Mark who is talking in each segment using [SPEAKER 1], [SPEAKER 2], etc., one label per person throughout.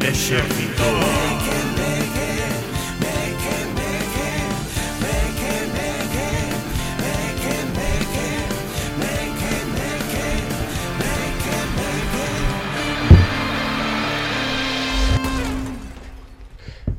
[SPEAKER 1] ejército.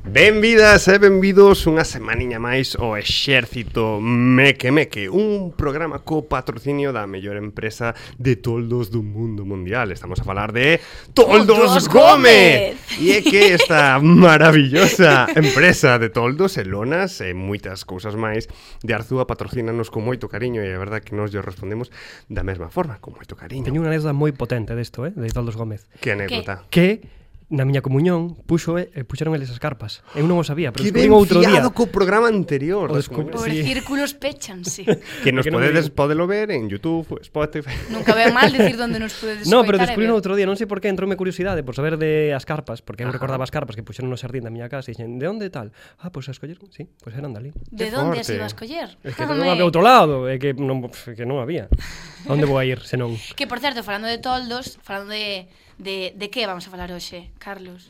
[SPEAKER 1] Benvidas e benvidos unha semaniña máis ao Exército Meque Meque Un programa co patrocinio da mellor empresa de toldos do mundo mundial Estamos a falar de Toldos
[SPEAKER 2] Toldos Gómez.
[SPEAKER 1] Gómez E é que esta maravillosa empresa de toldos e lonas e moitas cousas máis De Arzúa patrocínanos con moito cariño E a verdad que nos lle respondemos da mesma forma, con moito cariño
[SPEAKER 3] Teño unha anécdota moi potente desto, eh, de Isoldos Gómez,
[SPEAKER 1] Que anécdota
[SPEAKER 3] que na miña comunión puxo, eh, puxeron eles as carpas. Eu non o sabía, pero
[SPEAKER 1] Que ben
[SPEAKER 3] descubrín outro día.
[SPEAKER 1] fiado co programa anterior
[SPEAKER 3] O
[SPEAKER 1] das
[SPEAKER 3] descubrí-
[SPEAKER 1] comunidades.
[SPEAKER 2] Por
[SPEAKER 3] Sí.
[SPEAKER 2] círculos péchanse.
[SPEAKER 1] Que nos
[SPEAKER 3] Que non
[SPEAKER 1] podedes
[SPEAKER 3] digo.
[SPEAKER 1] podelo ver en YouTube, Spotify.
[SPEAKER 2] Nunca ve mal decir onde nos eh, podedes
[SPEAKER 3] No, pero
[SPEAKER 2] escoitar e
[SPEAKER 3] descubrín
[SPEAKER 2] ver.
[SPEAKER 3] outro día, non sei por que, entroume curiosidade por saber de as carpas, porque eu
[SPEAKER 1] Ajá.
[SPEAKER 3] recordaba as carpas que puxeron no xardín da miña casa e dixen, de onde tal? Ah, pois pues a escoller, sí, pois pues eran dali.
[SPEAKER 1] Qué
[SPEAKER 2] De onde as
[SPEAKER 1] forte.
[SPEAKER 2] ibas coller?
[SPEAKER 3] Es que
[SPEAKER 2] Home.
[SPEAKER 3] non había outro lado, é que non, pf, que non había. A onde vou a ir, senón?
[SPEAKER 2] Que por certo, falando de toldos, falando de de de que vamos a falar hoxe, Carlos?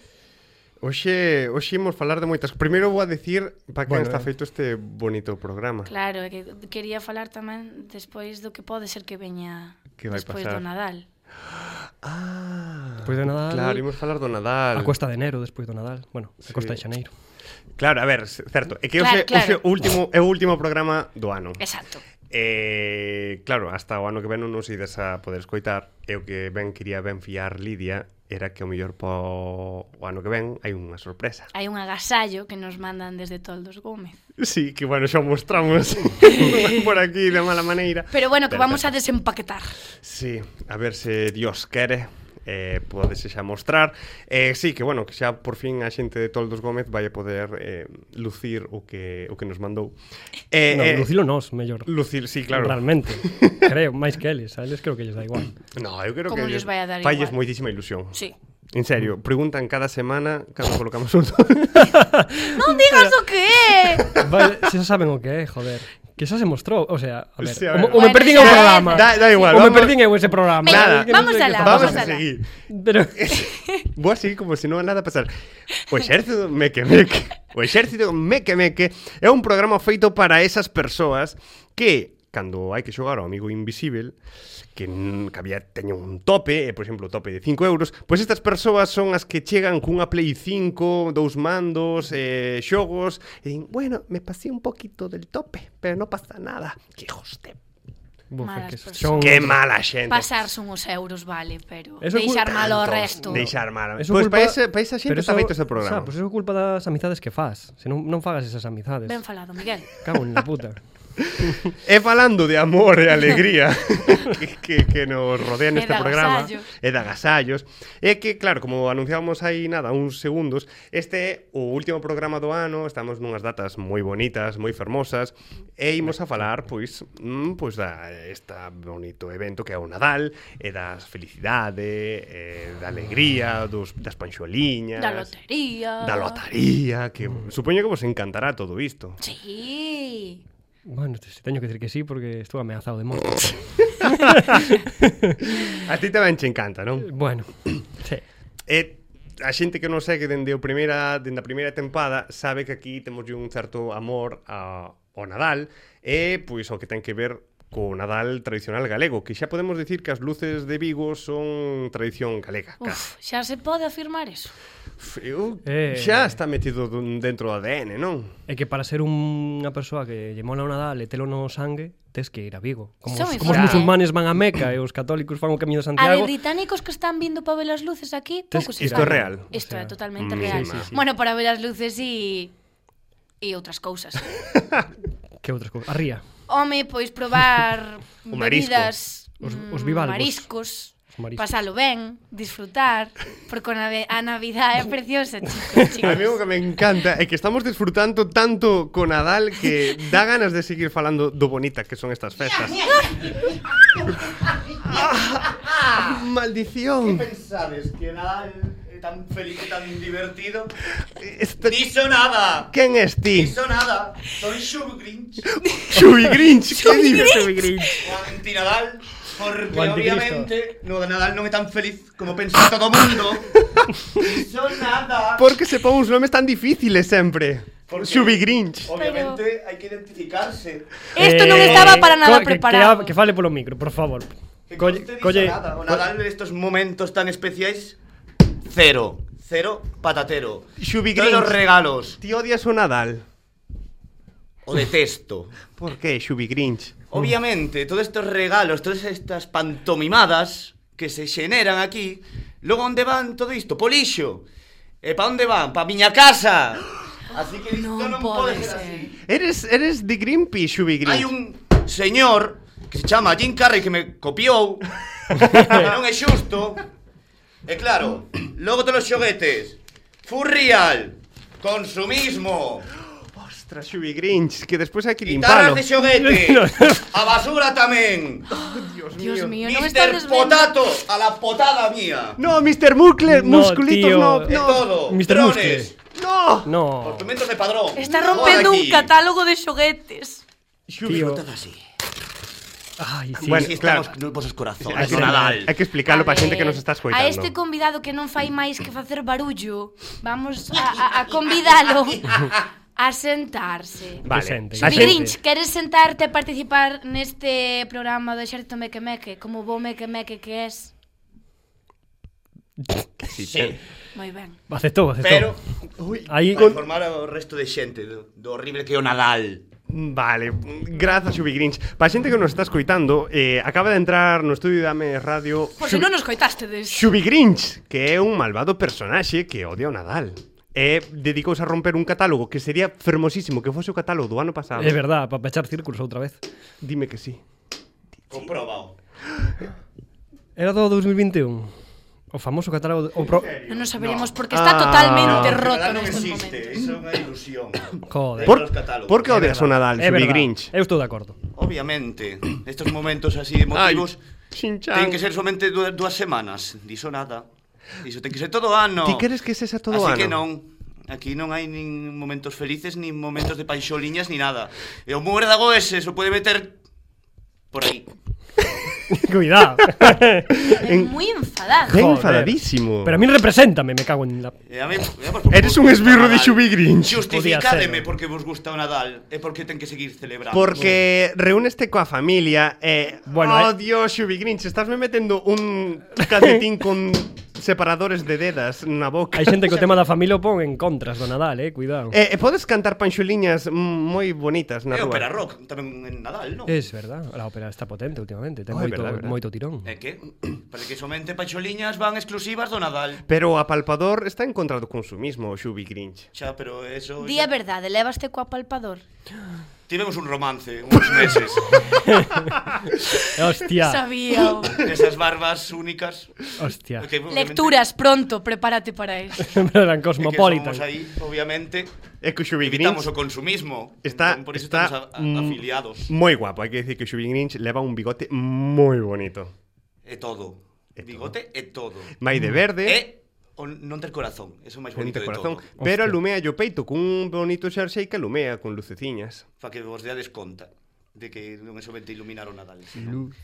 [SPEAKER 1] Oxe, oxe imos falar de moitas. Primeiro vou a decir para que bueno,
[SPEAKER 3] Bueno,
[SPEAKER 1] está
[SPEAKER 3] eh.
[SPEAKER 1] feito este bonito programa.
[SPEAKER 2] Claro, é que quería falar tamén despois do que pode ser que veña
[SPEAKER 1] Que vai
[SPEAKER 2] despois
[SPEAKER 1] pasar?
[SPEAKER 2] do Nadal.
[SPEAKER 1] Ah.
[SPEAKER 3] Despois do Nadal-
[SPEAKER 1] Claro, imos falar do Nadal.
[SPEAKER 3] A costa de enero, despois do Nadal. Bueno, a
[SPEAKER 1] Sí.
[SPEAKER 3] costa de xaneiro.
[SPEAKER 1] Claro, a ver, c- certo, é que hoxe,
[SPEAKER 2] Claro, claro.
[SPEAKER 1] hoxe o último é o último programa do ano.
[SPEAKER 2] Exacto.
[SPEAKER 1] Eh, claro, hasta o ano que ven non nos ides a poder escoitar E o que ben quería ben fiar Lidia Era que o mellor po o ano que ven hai unha sorpresa
[SPEAKER 2] Hai un agasallo que nos mandan desde Toldos Gómez.
[SPEAKER 1] Sí, que bueno, xa o mostramos Por aquí de mala maneira
[SPEAKER 2] Pero bueno, que
[SPEAKER 1] Pero,
[SPEAKER 2] vamos a desempaquetar.
[SPEAKER 1] Sí, a ver se Dios quere eh, podes xa mostrar eh, Sí, que bueno, que xa por fin a xente de Toldos Gómez vai a poder eh, lucir o que, o que nos mandou eh,
[SPEAKER 3] No,
[SPEAKER 1] eh,
[SPEAKER 3] Lucilo nós, mellor.
[SPEAKER 1] Lucil, sí, claro
[SPEAKER 3] Realmente. Creo, máis que eles. A eles creo que lles da igual.
[SPEAKER 1] No, eu creo
[SPEAKER 2] Como
[SPEAKER 1] que
[SPEAKER 2] lles vai a dar
[SPEAKER 1] falles
[SPEAKER 2] igual.
[SPEAKER 1] moitísima ilusión
[SPEAKER 2] Sí.
[SPEAKER 1] En serio, preguntan cada semana cando colocamos un
[SPEAKER 2] Non digas o que é.
[SPEAKER 3] Vale, se xa saben o que é, joder. Que xa se mostrou, o sea, a ver,
[SPEAKER 1] Sí, a
[SPEAKER 3] o,
[SPEAKER 1] ver.
[SPEAKER 3] o
[SPEAKER 2] Bueno,
[SPEAKER 3] me perdín
[SPEAKER 2] xa
[SPEAKER 3] eu o
[SPEAKER 2] é.
[SPEAKER 3] programa.
[SPEAKER 1] Da, da igual,
[SPEAKER 3] o me
[SPEAKER 1] vamos-
[SPEAKER 3] perdín eu ese programa.
[SPEAKER 2] Nada.
[SPEAKER 3] Es que non
[SPEAKER 2] Vamos
[SPEAKER 3] sei que
[SPEAKER 2] alá,
[SPEAKER 3] está
[SPEAKER 1] Vamos a
[SPEAKER 3] pasando.
[SPEAKER 2] alá.
[SPEAKER 1] seguir
[SPEAKER 3] Pero
[SPEAKER 1] Vou a seguir como se non nada pasar. O exército meque meque. O exército meque meque é un programa feito para esas persoas que cando hai que xogar ao amigo invisível que, n- que había teñen un tope, e, por exemplo, o tope de 5 euros, pois estas persoas son as que chegan cunha Play 5, dous mandos, eh, xogos, e din, bueno, me pasé un poquito del tope, pero non pasa nada. Que hijos de...
[SPEAKER 3] Bufa,
[SPEAKER 2] Malas
[SPEAKER 3] que
[SPEAKER 2] persoas.
[SPEAKER 3] son
[SPEAKER 1] Que mala xente.
[SPEAKER 2] Pasarse uns euros, vale, pero
[SPEAKER 3] Eso é cul-
[SPEAKER 2] deixar mal o
[SPEAKER 1] Tantos,
[SPEAKER 2] resto.
[SPEAKER 1] Deixar mal.
[SPEAKER 3] Eso
[SPEAKER 1] Pois
[SPEAKER 3] culpa-
[SPEAKER 1] para esa, para esa xente
[SPEAKER 3] pero
[SPEAKER 1] está
[SPEAKER 3] eso-
[SPEAKER 1] feito ese programa.
[SPEAKER 3] O sea, pues eso é culpa das amizades que fas. Se non, non fagas esas amizades.
[SPEAKER 2] Ben falado, Miguel.
[SPEAKER 3] Cago en la puta.
[SPEAKER 1] E falando de amor e alegría que, que, que nos rodea
[SPEAKER 2] E de
[SPEAKER 1] neste programa
[SPEAKER 2] agasallos.
[SPEAKER 1] e de agasallos é que, claro, como anunciábamos aí nada, uns segundos este é o último programa do ano estamos nunhas datas moi bonitas, moi fermosas e imos a falar, pois, mm, pois da esta bonito evento que é o Nadal e das felicidade e da alegría dos, das panxoliñas
[SPEAKER 2] Da lotería.
[SPEAKER 1] da lotaría que supoño que vos encantará todo isto
[SPEAKER 2] Sí.
[SPEAKER 3] Bueno, te, teño que decir que sí porque estou ameazado de morte.
[SPEAKER 1] a ti tamén che encanta, non?
[SPEAKER 3] bueno, sí.
[SPEAKER 1] E a xente que non segue dende o primeira dende a primeira tempada sabe que aquí temos un certo amor a, ao Nadal e pois o que ten que ver co Nadal tradicional galego, que xa podemos dicir que as luces de Vigo son tradición galega.
[SPEAKER 2] Uf, xa se pode afirmar eso.
[SPEAKER 1] Uf, eu,
[SPEAKER 3] Eh.
[SPEAKER 1] Xa está metido dun- dentro do ADN, non?
[SPEAKER 3] É que para ser unha persoa que lle mola o Nadal e telo no sangue, tes que ir a Vigo. Como,
[SPEAKER 2] Isto é
[SPEAKER 3] os,
[SPEAKER 2] moi
[SPEAKER 3] como os
[SPEAKER 2] forte.
[SPEAKER 3] musulmanes
[SPEAKER 1] eh.
[SPEAKER 3] van a Meca e os católicos fan o Camiño de
[SPEAKER 2] A ver,
[SPEAKER 3] Santiago,
[SPEAKER 2] británicos que están vindo para ver as luces aquí,
[SPEAKER 3] Tes-
[SPEAKER 2] pouco se
[SPEAKER 1] Isto é
[SPEAKER 2] sabe.
[SPEAKER 1] real.
[SPEAKER 2] Isto
[SPEAKER 3] O
[SPEAKER 2] é
[SPEAKER 3] sea,
[SPEAKER 1] mm,
[SPEAKER 2] totalmente real.
[SPEAKER 1] sí, sí,
[SPEAKER 3] sí.
[SPEAKER 2] Bueno, para ver as luces e e outras cousas.
[SPEAKER 3] que outras cousas. A ría,
[SPEAKER 2] Home, pois probar
[SPEAKER 1] O marisco.
[SPEAKER 2] bebidas,
[SPEAKER 3] Os-
[SPEAKER 2] mm,
[SPEAKER 3] os bivalvos.
[SPEAKER 2] mariscos,
[SPEAKER 3] Os mariscos.
[SPEAKER 2] pasalo ben, disfrutar, porque a nave- a Navidad é preciosa, chicos,
[SPEAKER 1] A mí
[SPEAKER 2] chicos.
[SPEAKER 1] o que me encanta é que estamos disfrutando tanto co Nadal que dá ganas de seguir falando do bonita que son estas festas. Ah, maldición.
[SPEAKER 4] ¿Sabes que nada eh, tan feliz y tan divertido?
[SPEAKER 1] Este-
[SPEAKER 4] ¡Diso nada!
[SPEAKER 1] Quen es ti?
[SPEAKER 4] ¡Diso nada! Soy Shub Grinch,
[SPEAKER 1] Xubi Grinch, que dices Xubi Grinch?
[SPEAKER 4] o antinadal, o Porque
[SPEAKER 3] O anticristo.
[SPEAKER 4] obviamente no, Nadal non é tan feliz como pensa todo o mundo. Iso nada.
[SPEAKER 1] Porque se pon uns nomes tan difíciles sempre.
[SPEAKER 4] Por qué?
[SPEAKER 1] Xubi Grinch.
[SPEAKER 4] Obviamente hai que identificarse.
[SPEAKER 2] Esto non
[SPEAKER 3] Eh,
[SPEAKER 2] estaba para nada
[SPEAKER 3] co- que-
[SPEAKER 2] preparado.
[SPEAKER 3] Que, que fale polo micro, por favor.
[SPEAKER 4] Que
[SPEAKER 3] Colle-
[SPEAKER 4] colle,
[SPEAKER 3] colle-
[SPEAKER 4] nada. O Nadal nestos momentos tan especiais cero, cero patatero.
[SPEAKER 1] Xubi
[SPEAKER 4] Todos os
[SPEAKER 1] Grinch.
[SPEAKER 4] regalos.
[SPEAKER 1] Ti odias o Nadal.
[SPEAKER 4] O detesto.
[SPEAKER 1] Por que Xubi Grinch?
[SPEAKER 4] Obviamente, todos estos regalos, todas estas pantomimadas que se xeneran aquí, logo onde van todo isto? Polixo. E pa onde van? Pa miña casa. Así que isto non,
[SPEAKER 2] Non pode
[SPEAKER 4] pode ser
[SPEAKER 2] ser.
[SPEAKER 4] así.
[SPEAKER 1] Eres eres de Greenpeace, Xubi Grinch.
[SPEAKER 4] Hai un señor que se chama Jim Carrey que me copiou que non é xusto. E claro, logo todos os xoguetes. Furrial, consumismo,
[SPEAKER 1] Ostras, Xubi Grinch, que despois hai que
[SPEAKER 4] guitarras
[SPEAKER 1] limpalo.
[SPEAKER 4] de xoguete, a basura tamén,
[SPEAKER 2] Dios mío, non
[SPEAKER 4] Mr.
[SPEAKER 2] estades vendo.
[SPEAKER 4] Potato, a la potada mía.
[SPEAKER 1] No, Mr. Muckler,
[SPEAKER 3] No,
[SPEAKER 1] musculitos,
[SPEAKER 3] tío.
[SPEAKER 1] no,
[SPEAKER 4] E
[SPEAKER 1] no,
[SPEAKER 4] todo,
[SPEAKER 3] Mr.
[SPEAKER 4] drones,
[SPEAKER 1] no.
[SPEAKER 3] No.
[SPEAKER 4] instrumentos de padrón.
[SPEAKER 2] Está
[SPEAKER 4] Todo
[SPEAKER 2] rompendo un
[SPEAKER 4] aquí.
[SPEAKER 2] catálogo de xoguetes.
[SPEAKER 1] Xubi,
[SPEAKER 3] Tío.
[SPEAKER 4] Todo así.
[SPEAKER 3] Ay, sí.
[SPEAKER 1] Bueno,
[SPEAKER 4] Así
[SPEAKER 1] claro.
[SPEAKER 4] estamos nos vosos
[SPEAKER 1] Hai
[SPEAKER 4] corazones,
[SPEAKER 1] que,
[SPEAKER 4] do Nadal.
[SPEAKER 1] hai que explicarlo para
[SPEAKER 2] A
[SPEAKER 1] xente que
[SPEAKER 2] ver,
[SPEAKER 1] nos está escoitando.
[SPEAKER 2] A este convidado que non fai máis que facer barullo, vamos a, a, a convidalo a sentarse.
[SPEAKER 1] Vale.
[SPEAKER 3] Presente.
[SPEAKER 1] A
[SPEAKER 3] La
[SPEAKER 2] Xubi
[SPEAKER 1] xente-
[SPEAKER 2] Grinch, queres sentarte a participar neste programa do Exército Meque Meque? Como bo Meque Meque que es?
[SPEAKER 1] Sí,
[SPEAKER 4] Sí,
[SPEAKER 2] Moi ben.
[SPEAKER 3] Aceptou, aceptou.
[SPEAKER 4] pero
[SPEAKER 3] Aí
[SPEAKER 4] para informar ao resto de xente do, do horrible que é o Nadal.
[SPEAKER 1] Mm, Vale, grazas Xubi Grinch. Para xente que nos está escoitando, eh, acaba de entrar no estudio de Ame Radio
[SPEAKER 2] Por se non nos coitastedes.
[SPEAKER 1] Xubi Grinch, que é un malvado personaxe que odia o Nadal. E dedicouse a romper un catálogo que sería fermosísimo que fose o catálogo do ano pasado.
[SPEAKER 3] É verdad, para pechar círculos outra vez.
[SPEAKER 1] Dime que sí.
[SPEAKER 4] Comprobao.
[SPEAKER 3] Era do 2021. O famoso catálogo... de- O pro...
[SPEAKER 2] Non nos
[SPEAKER 4] No.
[SPEAKER 2] saberemos porque está
[SPEAKER 1] Ah, no,
[SPEAKER 2] totalmente roto
[SPEAKER 4] non existe,
[SPEAKER 2] neste momento.
[SPEAKER 4] iso é unha ilusión.
[SPEAKER 3] Joder.
[SPEAKER 1] Por,
[SPEAKER 4] Los catálogos.
[SPEAKER 1] por que
[SPEAKER 4] É
[SPEAKER 1] odias o Nadal,
[SPEAKER 3] É
[SPEAKER 1] Xubi
[SPEAKER 3] verdad.
[SPEAKER 1] Grinch?
[SPEAKER 3] Eu estou de acordo.
[SPEAKER 4] Obviamente, estos momentos así emotivos
[SPEAKER 1] Xinchan.
[SPEAKER 4] ten que ser somente du dúas semanas, diso nada. Diso ten que ser todo o ano.
[SPEAKER 1] Ti queres que sexa todo o
[SPEAKER 4] Así
[SPEAKER 1] ano?
[SPEAKER 4] que non. Aquí non hai nin momentos felices, nin momentos de panxoliñas, ni nada. E o murdago ese se pode meter por aí.
[SPEAKER 3] Cuidado.
[SPEAKER 2] É
[SPEAKER 1] En-
[SPEAKER 2] moi enfadado.
[SPEAKER 1] Qué
[SPEAKER 3] Joder.
[SPEAKER 1] enfadadísimo.
[SPEAKER 3] Pero a mí represéntame, me cago en la...
[SPEAKER 4] E a mí, e a vos
[SPEAKER 1] Eres un
[SPEAKER 4] gusta o
[SPEAKER 1] esbirro de
[SPEAKER 4] Nadal.
[SPEAKER 1] Xubi Grinch.
[SPEAKER 4] Justificádeme
[SPEAKER 3] Podía ser.
[SPEAKER 4] porque vos gusta o Nadal e porque ten que seguir celebrando.
[SPEAKER 1] Porque reúneste coa familia e...
[SPEAKER 3] Bueno,
[SPEAKER 1] oh,
[SPEAKER 3] eh.
[SPEAKER 1] Dios, Xubi Grinch, estás me metendo un calcetín con separadores de dedas na boca.
[SPEAKER 3] Hai xente que o tema da familia o pon en contras do Nadal, eh, cuidado.
[SPEAKER 1] E, e podes cantar panxuliñas moi bonitas na
[SPEAKER 4] É ópera
[SPEAKER 1] rúa.
[SPEAKER 4] rock tamén en Nadal, non?
[SPEAKER 3] Es verdad, a ópera está potente últimamente, ten
[SPEAKER 1] Ai,
[SPEAKER 3] moito,
[SPEAKER 1] verdad, verdad.
[SPEAKER 3] moito tirón.
[SPEAKER 4] É que, para que somente pacholiñas van exclusivas do Nadal.
[SPEAKER 1] Pero o apalpador está en contra do consumismo, Xubi Grinch.
[SPEAKER 4] Xa, pero eso...
[SPEAKER 2] Di
[SPEAKER 4] Xa...
[SPEAKER 2] a verdade, levaste coa palpador.
[SPEAKER 4] Tivemos un romance uns meses.
[SPEAKER 3] Hostia,
[SPEAKER 2] Sabía.
[SPEAKER 4] Esas barbas únicas.
[SPEAKER 3] hostia.
[SPEAKER 4] que obviamente-
[SPEAKER 2] Lecturas pronto, prepárate para eso.
[SPEAKER 3] Eran
[SPEAKER 4] que
[SPEAKER 3] Cosmopolitan.
[SPEAKER 4] somos aí, obviamente,
[SPEAKER 1] É que o Xubi
[SPEAKER 4] evitamos
[SPEAKER 1] Grinch
[SPEAKER 4] o consumismo.
[SPEAKER 1] está,
[SPEAKER 4] Entón, por iso
[SPEAKER 1] está
[SPEAKER 4] estamos a, a,
[SPEAKER 1] mm,
[SPEAKER 4] afiliados.
[SPEAKER 1] moi guapo. Hai que decir que o Xubi Grinch leva un bigote moi bonito.
[SPEAKER 4] É todo.
[SPEAKER 1] É todo.
[SPEAKER 4] Bigote é todo.
[SPEAKER 1] Mai de verde.
[SPEAKER 4] Mm. É o non ter corazón. Eso é o máis bonito
[SPEAKER 1] Ponte
[SPEAKER 4] de
[SPEAKER 1] corazón,
[SPEAKER 4] todo.
[SPEAKER 1] pero
[SPEAKER 3] Hostia.
[SPEAKER 1] alumea yo peito cun bonito xersei que alumea con luceciñas.
[SPEAKER 4] Fa que vos deades conta de que non é somente iluminar o Nadal. Sino...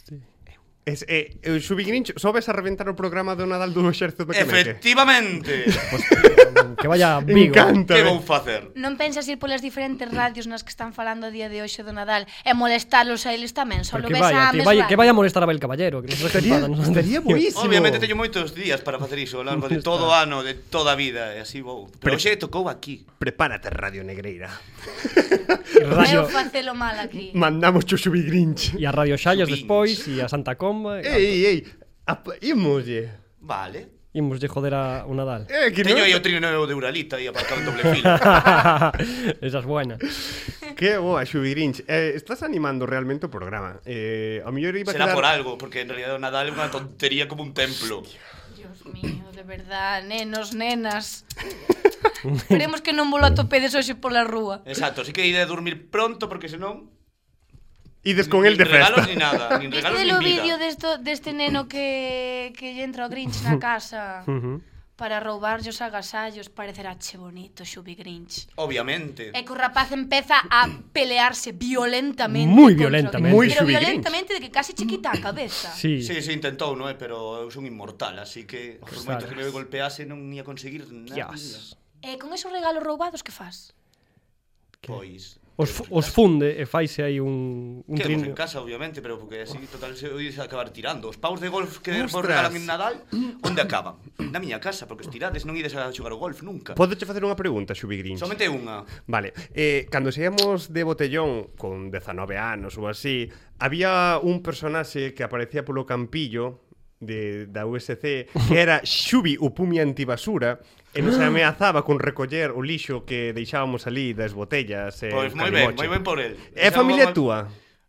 [SPEAKER 1] Es, eh, eu Xubi Grinch, sobes a reventar o programa do Nadal do Exército que meque.
[SPEAKER 4] Efectivamente!
[SPEAKER 3] mm, Que vaya Vigo.
[SPEAKER 1] Encanta. eh.
[SPEAKER 4] que vou facer?
[SPEAKER 2] Non pensas ir polas diferentes radios nas que están falando a día de hoxe do Nadal e molestalos a eles tamén, solo
[SPEAKER 3] Porque
[SPEAKER 2] ves a
[SPEAKER 3] vaya, que
[SPEAKER 2] Ames
[SPEAKER 3] vaya, que
[SPEAKER 2] Radio.
[SPEAKER 3] vaya a molestar a Bel Caballero, que nos deje en paz, nos deje-
[SPEAKER 1] estaría buenísimo.
[SPEAKER 4] Obviamente teño moitos días para facer iso ao largo de todo o ano, de toda a vida, e así vou. Pero
[SPEAKER 1] Pre-
[SPEAKER 4] hoxe tocou aquí.
[SPEAKER 1] Prepárate, Radio Negreira.
[SPEAKER 3] Radio
[SPEAKER 2] Eu facelo mal aquí.
[SPEAKER 1] Mandamos cho Xubi Grinch.
[SPEAKER 3] e a Radio Xallas
[SPEAKER 4] Subinch.
[SPEAKER 3] despois e a Santa Comba. e-
[SPEAKER 1] Ei, ei, ap- ímoslle.
[SPEAKER 4] Vale.
[SPEAKER 3] Imos de joder a o Nadal.
[SPEAKER 1] Eh, que
[SPEAKER 4] Teño
[SPEAKER 1] non-
[SPEAKER 4] aí o trineo de Uralita e aparcado en doble fila.
[SPEAKER 3] Esa es buena.
[SPEAKER 1] Que boa, Xubi Grinch. Eh, estás animando realmente o programa. Eh, a mellor iba a
[SPEAKER 4] Será
[SPEAKER 1] quedar...
[SPEAKER 4] por algo, porque en realidad o Nadal é unha tontería como un templo.
[SPEAKER 2] Dios mío, de verdad, nenos, nenas. Esperemos que non volo atopedes hoxe pola rúa.
[SPEAKER 4] Exacto, así que ide a dormir pronto, porque senón...
[SPEAKER 1] Ides con el
[SPEAKER 4] nin
[SPEAKER 1] de
[SPEAKER 4] regalos
[SPEAKER 1] festa.
[SPEAKER 4] ni nada, nin regalos
[SPEAKER 2] Viste
[SPEAKER 4] ni
[SPEAKER 2] o
[SPEAKER 4] vida.
[SPEAKER 2] vídeo desto, deste neno que, que lle entra o Grinch na casa? para roubarlle os agasallos parecerache bonito, Xubi Grinch.
[SPEAKER 4] Obviamente.
[SPEAKER 2] E que o rapaz empeza a pelearse violentamente.
[SPEAKER 3] Moi
[SPEAKER 2] contra o Grinch.
[SPEAKER 3] violentamente.
[SPEAKER 1] Moi
[SPEAKER 2] Pero
[SPEAKER 1] Xubi Grinch.
[SPEAKER 2] violentamente de que casi che quita a cabeza.
[SPEAKER 3] Sí.
[SPEAKER 4] Sí, sí, intentou, non é? Pero eu son inmortal, así que por moito que me golpease non ia conseguir nada.
[SPEAKER 3] Yes.
[SPEAKER 2] E Eh, con esos regalos roubados que faz?
[SPEAKER 4] Pois.
[SPEAKER 3] Os, fu- os funde e faise aí un, un
[SPEAKER 4] Un Quedemos en
[SPEAKER 3] trino.
[SPEAKER 4] casa, obviamente, pero porque así total se oís acabar tirando. Os paus de golf que vos
[SPEAKER 1] Ostras.
[SPEAKER 4] regalan en Nadal, onde acaban? Na miña casa, porque os tirades non ides a xogar ao golf nunca.
[SPEAKER 1] Podoche facer unha pregunta, Xubi Grinch?
[SPEAKER 4] Somente unha.
[SPEAKER 1] Vale, eh, cando saíamos de Botellón con 19 anos ou así, había un personaxe que aparecía polo campillo de, da USC que era Xubi, o pumi antibasura e nos ameazaba con recoller o lixo que deixábamos ali das botellas e
[SPEAKER 4] Pois
[SPEAKER 1] o
[SPEAKER 4] moi ben,
[SPEAKER 1] calimocho.
[SPEAKER 4] moi ben por el.
[SPEAKER 1] É
[SPEAKER 4] Xa vamos-
[SPEAKER 1] familia túa?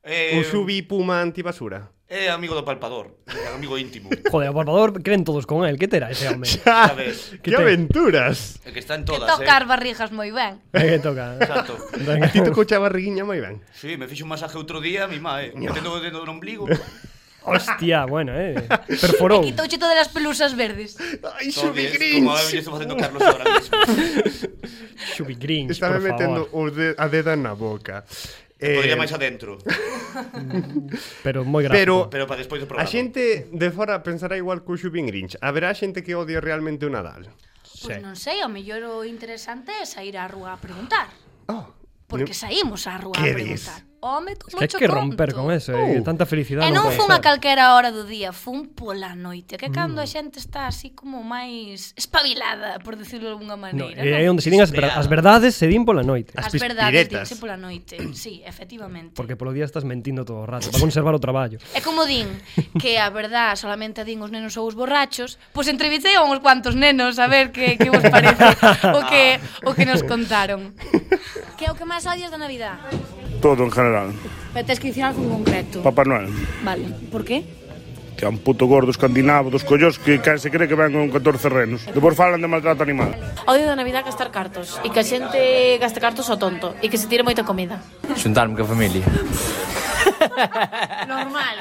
[SPEAKER 4] Eh,
[SPEAKER 1] O Xubi puma antibasura?
[SPEAKER 4] É amigo do palpador, é amigo íntimo.
[SPEAKER 3] Joder, o Barbador creen todos con él. Que terá ese home?
[SPEAKER 1] ¡Ja!
[SPEAKER 4] ves.
[SPEAKER 1] ¡Qué
[SPEAKER 3] Que te-
[SPEAKER 1] aventuras!
[SPEAKER 4] É que está en
[SPEAKER 2] Que
[SPEAKER 4] todas, eh.
[SPEAKER 2] tocar barrigas moi ben.
[SPEAKER 3] É que toca.
[SPEAKER 4] Exacto.
[SPEAKER 1] A ti tocou xa barriguiña moi ben.
[SPEAKER 4] Sí, me fixo un masaje outro día, mi má, eh. Metendo o dedo no ombligo. Todo
[SPEAKER 3] Hostia, bueno, eh. Perforou.
[SPEAKER 2] E quitouche todas as pelusas verdes.
[SPEAKER 1] Ai, Xubi
[SPEAKER 4] bien,
[SPEAKER 1] Grinch!
[SPEAKER 4] Como eu estou facendo Carlos ahora mismo.
[SPEAKER 3] Xubi Grinch,
[SPEAKER 1] Estaba
[SPEAKER 3] por
[SPEAKER 1] metendo o
[SPEAKER 3] favor.
[SPEAKER 1] de, a deda na boca. Eh,
[SPEAKER 4] Podría máis adentro,
[SPEAKER 3] Pero moi
[SPEAKER 1] Pero-
[SPEAKER 3] gráfico.
[SPEAKER 4] pero para despois do programa.
[SPEAKER 1] a xente de fora pensará igual que o Xubin Grinch. Haberá xente que odie realmente o Nadal.
[SPEAKER 2] Pois non sei, ao mellor o interesante é sair á rúa a preguntar.
[SPEAKER 1] Oh,
[SPEAKER 2] Porque saímos á rúa a
[SPEAKER 1] Que
[SPEAKER 2] preguntar. Home, tú
[SPEAKER 3] Que hai
[SPEAKER 2] mocho
[SPEAKER 3] que romper
[SPEAKER 2] tonto.
[SPEAKER 3] con eso, eh. que
[SPEAKER 1] Oh.
[SPEAKER 3] Tanta felicidade
[SPEAKER 2] E non
[SPEAKER 3] pode
[SPEAKER 2] fun a
[SPEAKER 3] ser. Mm.
[SPEAKER 2] calquera hora do día, fun pola noite, que cando a xente está así como máis espabilada, por decirlo de alguna
[SPEAKER 3] No,
[SPEAKER 2] maneira.
[SPEAKER 3] é
[SPEAKER 2] non?
[SPEAKER 3] onde se din as, ver- as verdades se din pola noite.
[SPEAKER 1] As
[SPEAKER 2] As verdades
[SPEAKER 1] pispiretas.
[SPEAKER 2] díganse pola noite, sí, efectivamente.
[SPEAKER 3] Porque polo día estás mentindo todo o rato para conservar o traballo.
[SPEAKER 2] E como din que a verdad solamente a din os nenos ou os borrachos, pois entrevistei a uns cuantos nenos a ver que, que vos parece o que, o que nos contaron. Que é o que máis odias da Navidad?
[SPEAKER 5] Todo en general.
[SPEAKER 6] Pero tens que dicir algo en concreto.
[SPEAKER 5] Papá Noel.
[SPEAKER 6] Vale, por qué?
[SPEAKER 5] Que é un puto gordo escandinavo dos collós que case se cree que ven con 14 renos. Depois falan de maltrato animal.
[SPEAKER 6] Odio da Navidad gastar cartos e que a xente gaste cartos ao tonto e que se tire moita comida.
[SPEAKER 7] Xuntarme coa familia.
[SPEAKER 2] Normal.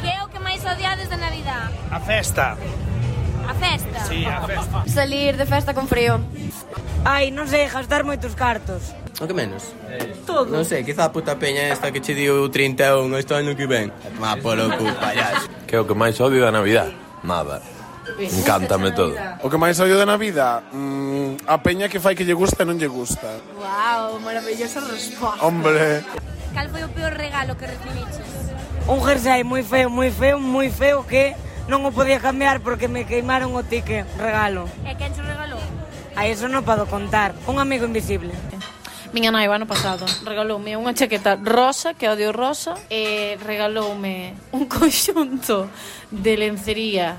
[SPEAKER 2] Que é o que máis odiades da Navidad?
[SPEAKER 8] A festa.
[SPEAKER 2] A festa. Sí.
[SPEAKER 9] Salir de festa con frío. Ai, non sei, gastar moitos cartos.
[SPEAKER 7] O que menos?
[SPEAKER 9] Todo.
[SPEAKER 7] Non sei, quizá a puta peña esta que che diu 31 este ano que ven. Ma polo cu, payaso.
[SPEAKER 10] Que é o que máis odio da Navidad? Nada. Encántame todo.
[SPEAKER 8] O que máis odio da Navidad, mm, a peña que fai que lle gusta e non lle gusta.
[SPEAKER 9] Wow, maravillosa resposta.
[SPEAKER 8] Hombre,
[SPEAKER 2] Cal foi o peor regalo que recibiches?
[SPEAKER 9] Un jersey moi feo, moi feo, moi feo que non o podía cambiar porque me queimaron o tique, regalo.
[SPEAKER 2] E quen xo regalou?
[SPEAKER 9] A eso non podo contar. Un amigo invisible.
[SPEAKER 6] Miña nai o ano pasado regaloume unha chaqueta rosa, que odio rosa, e regaloume un conxunto de lencería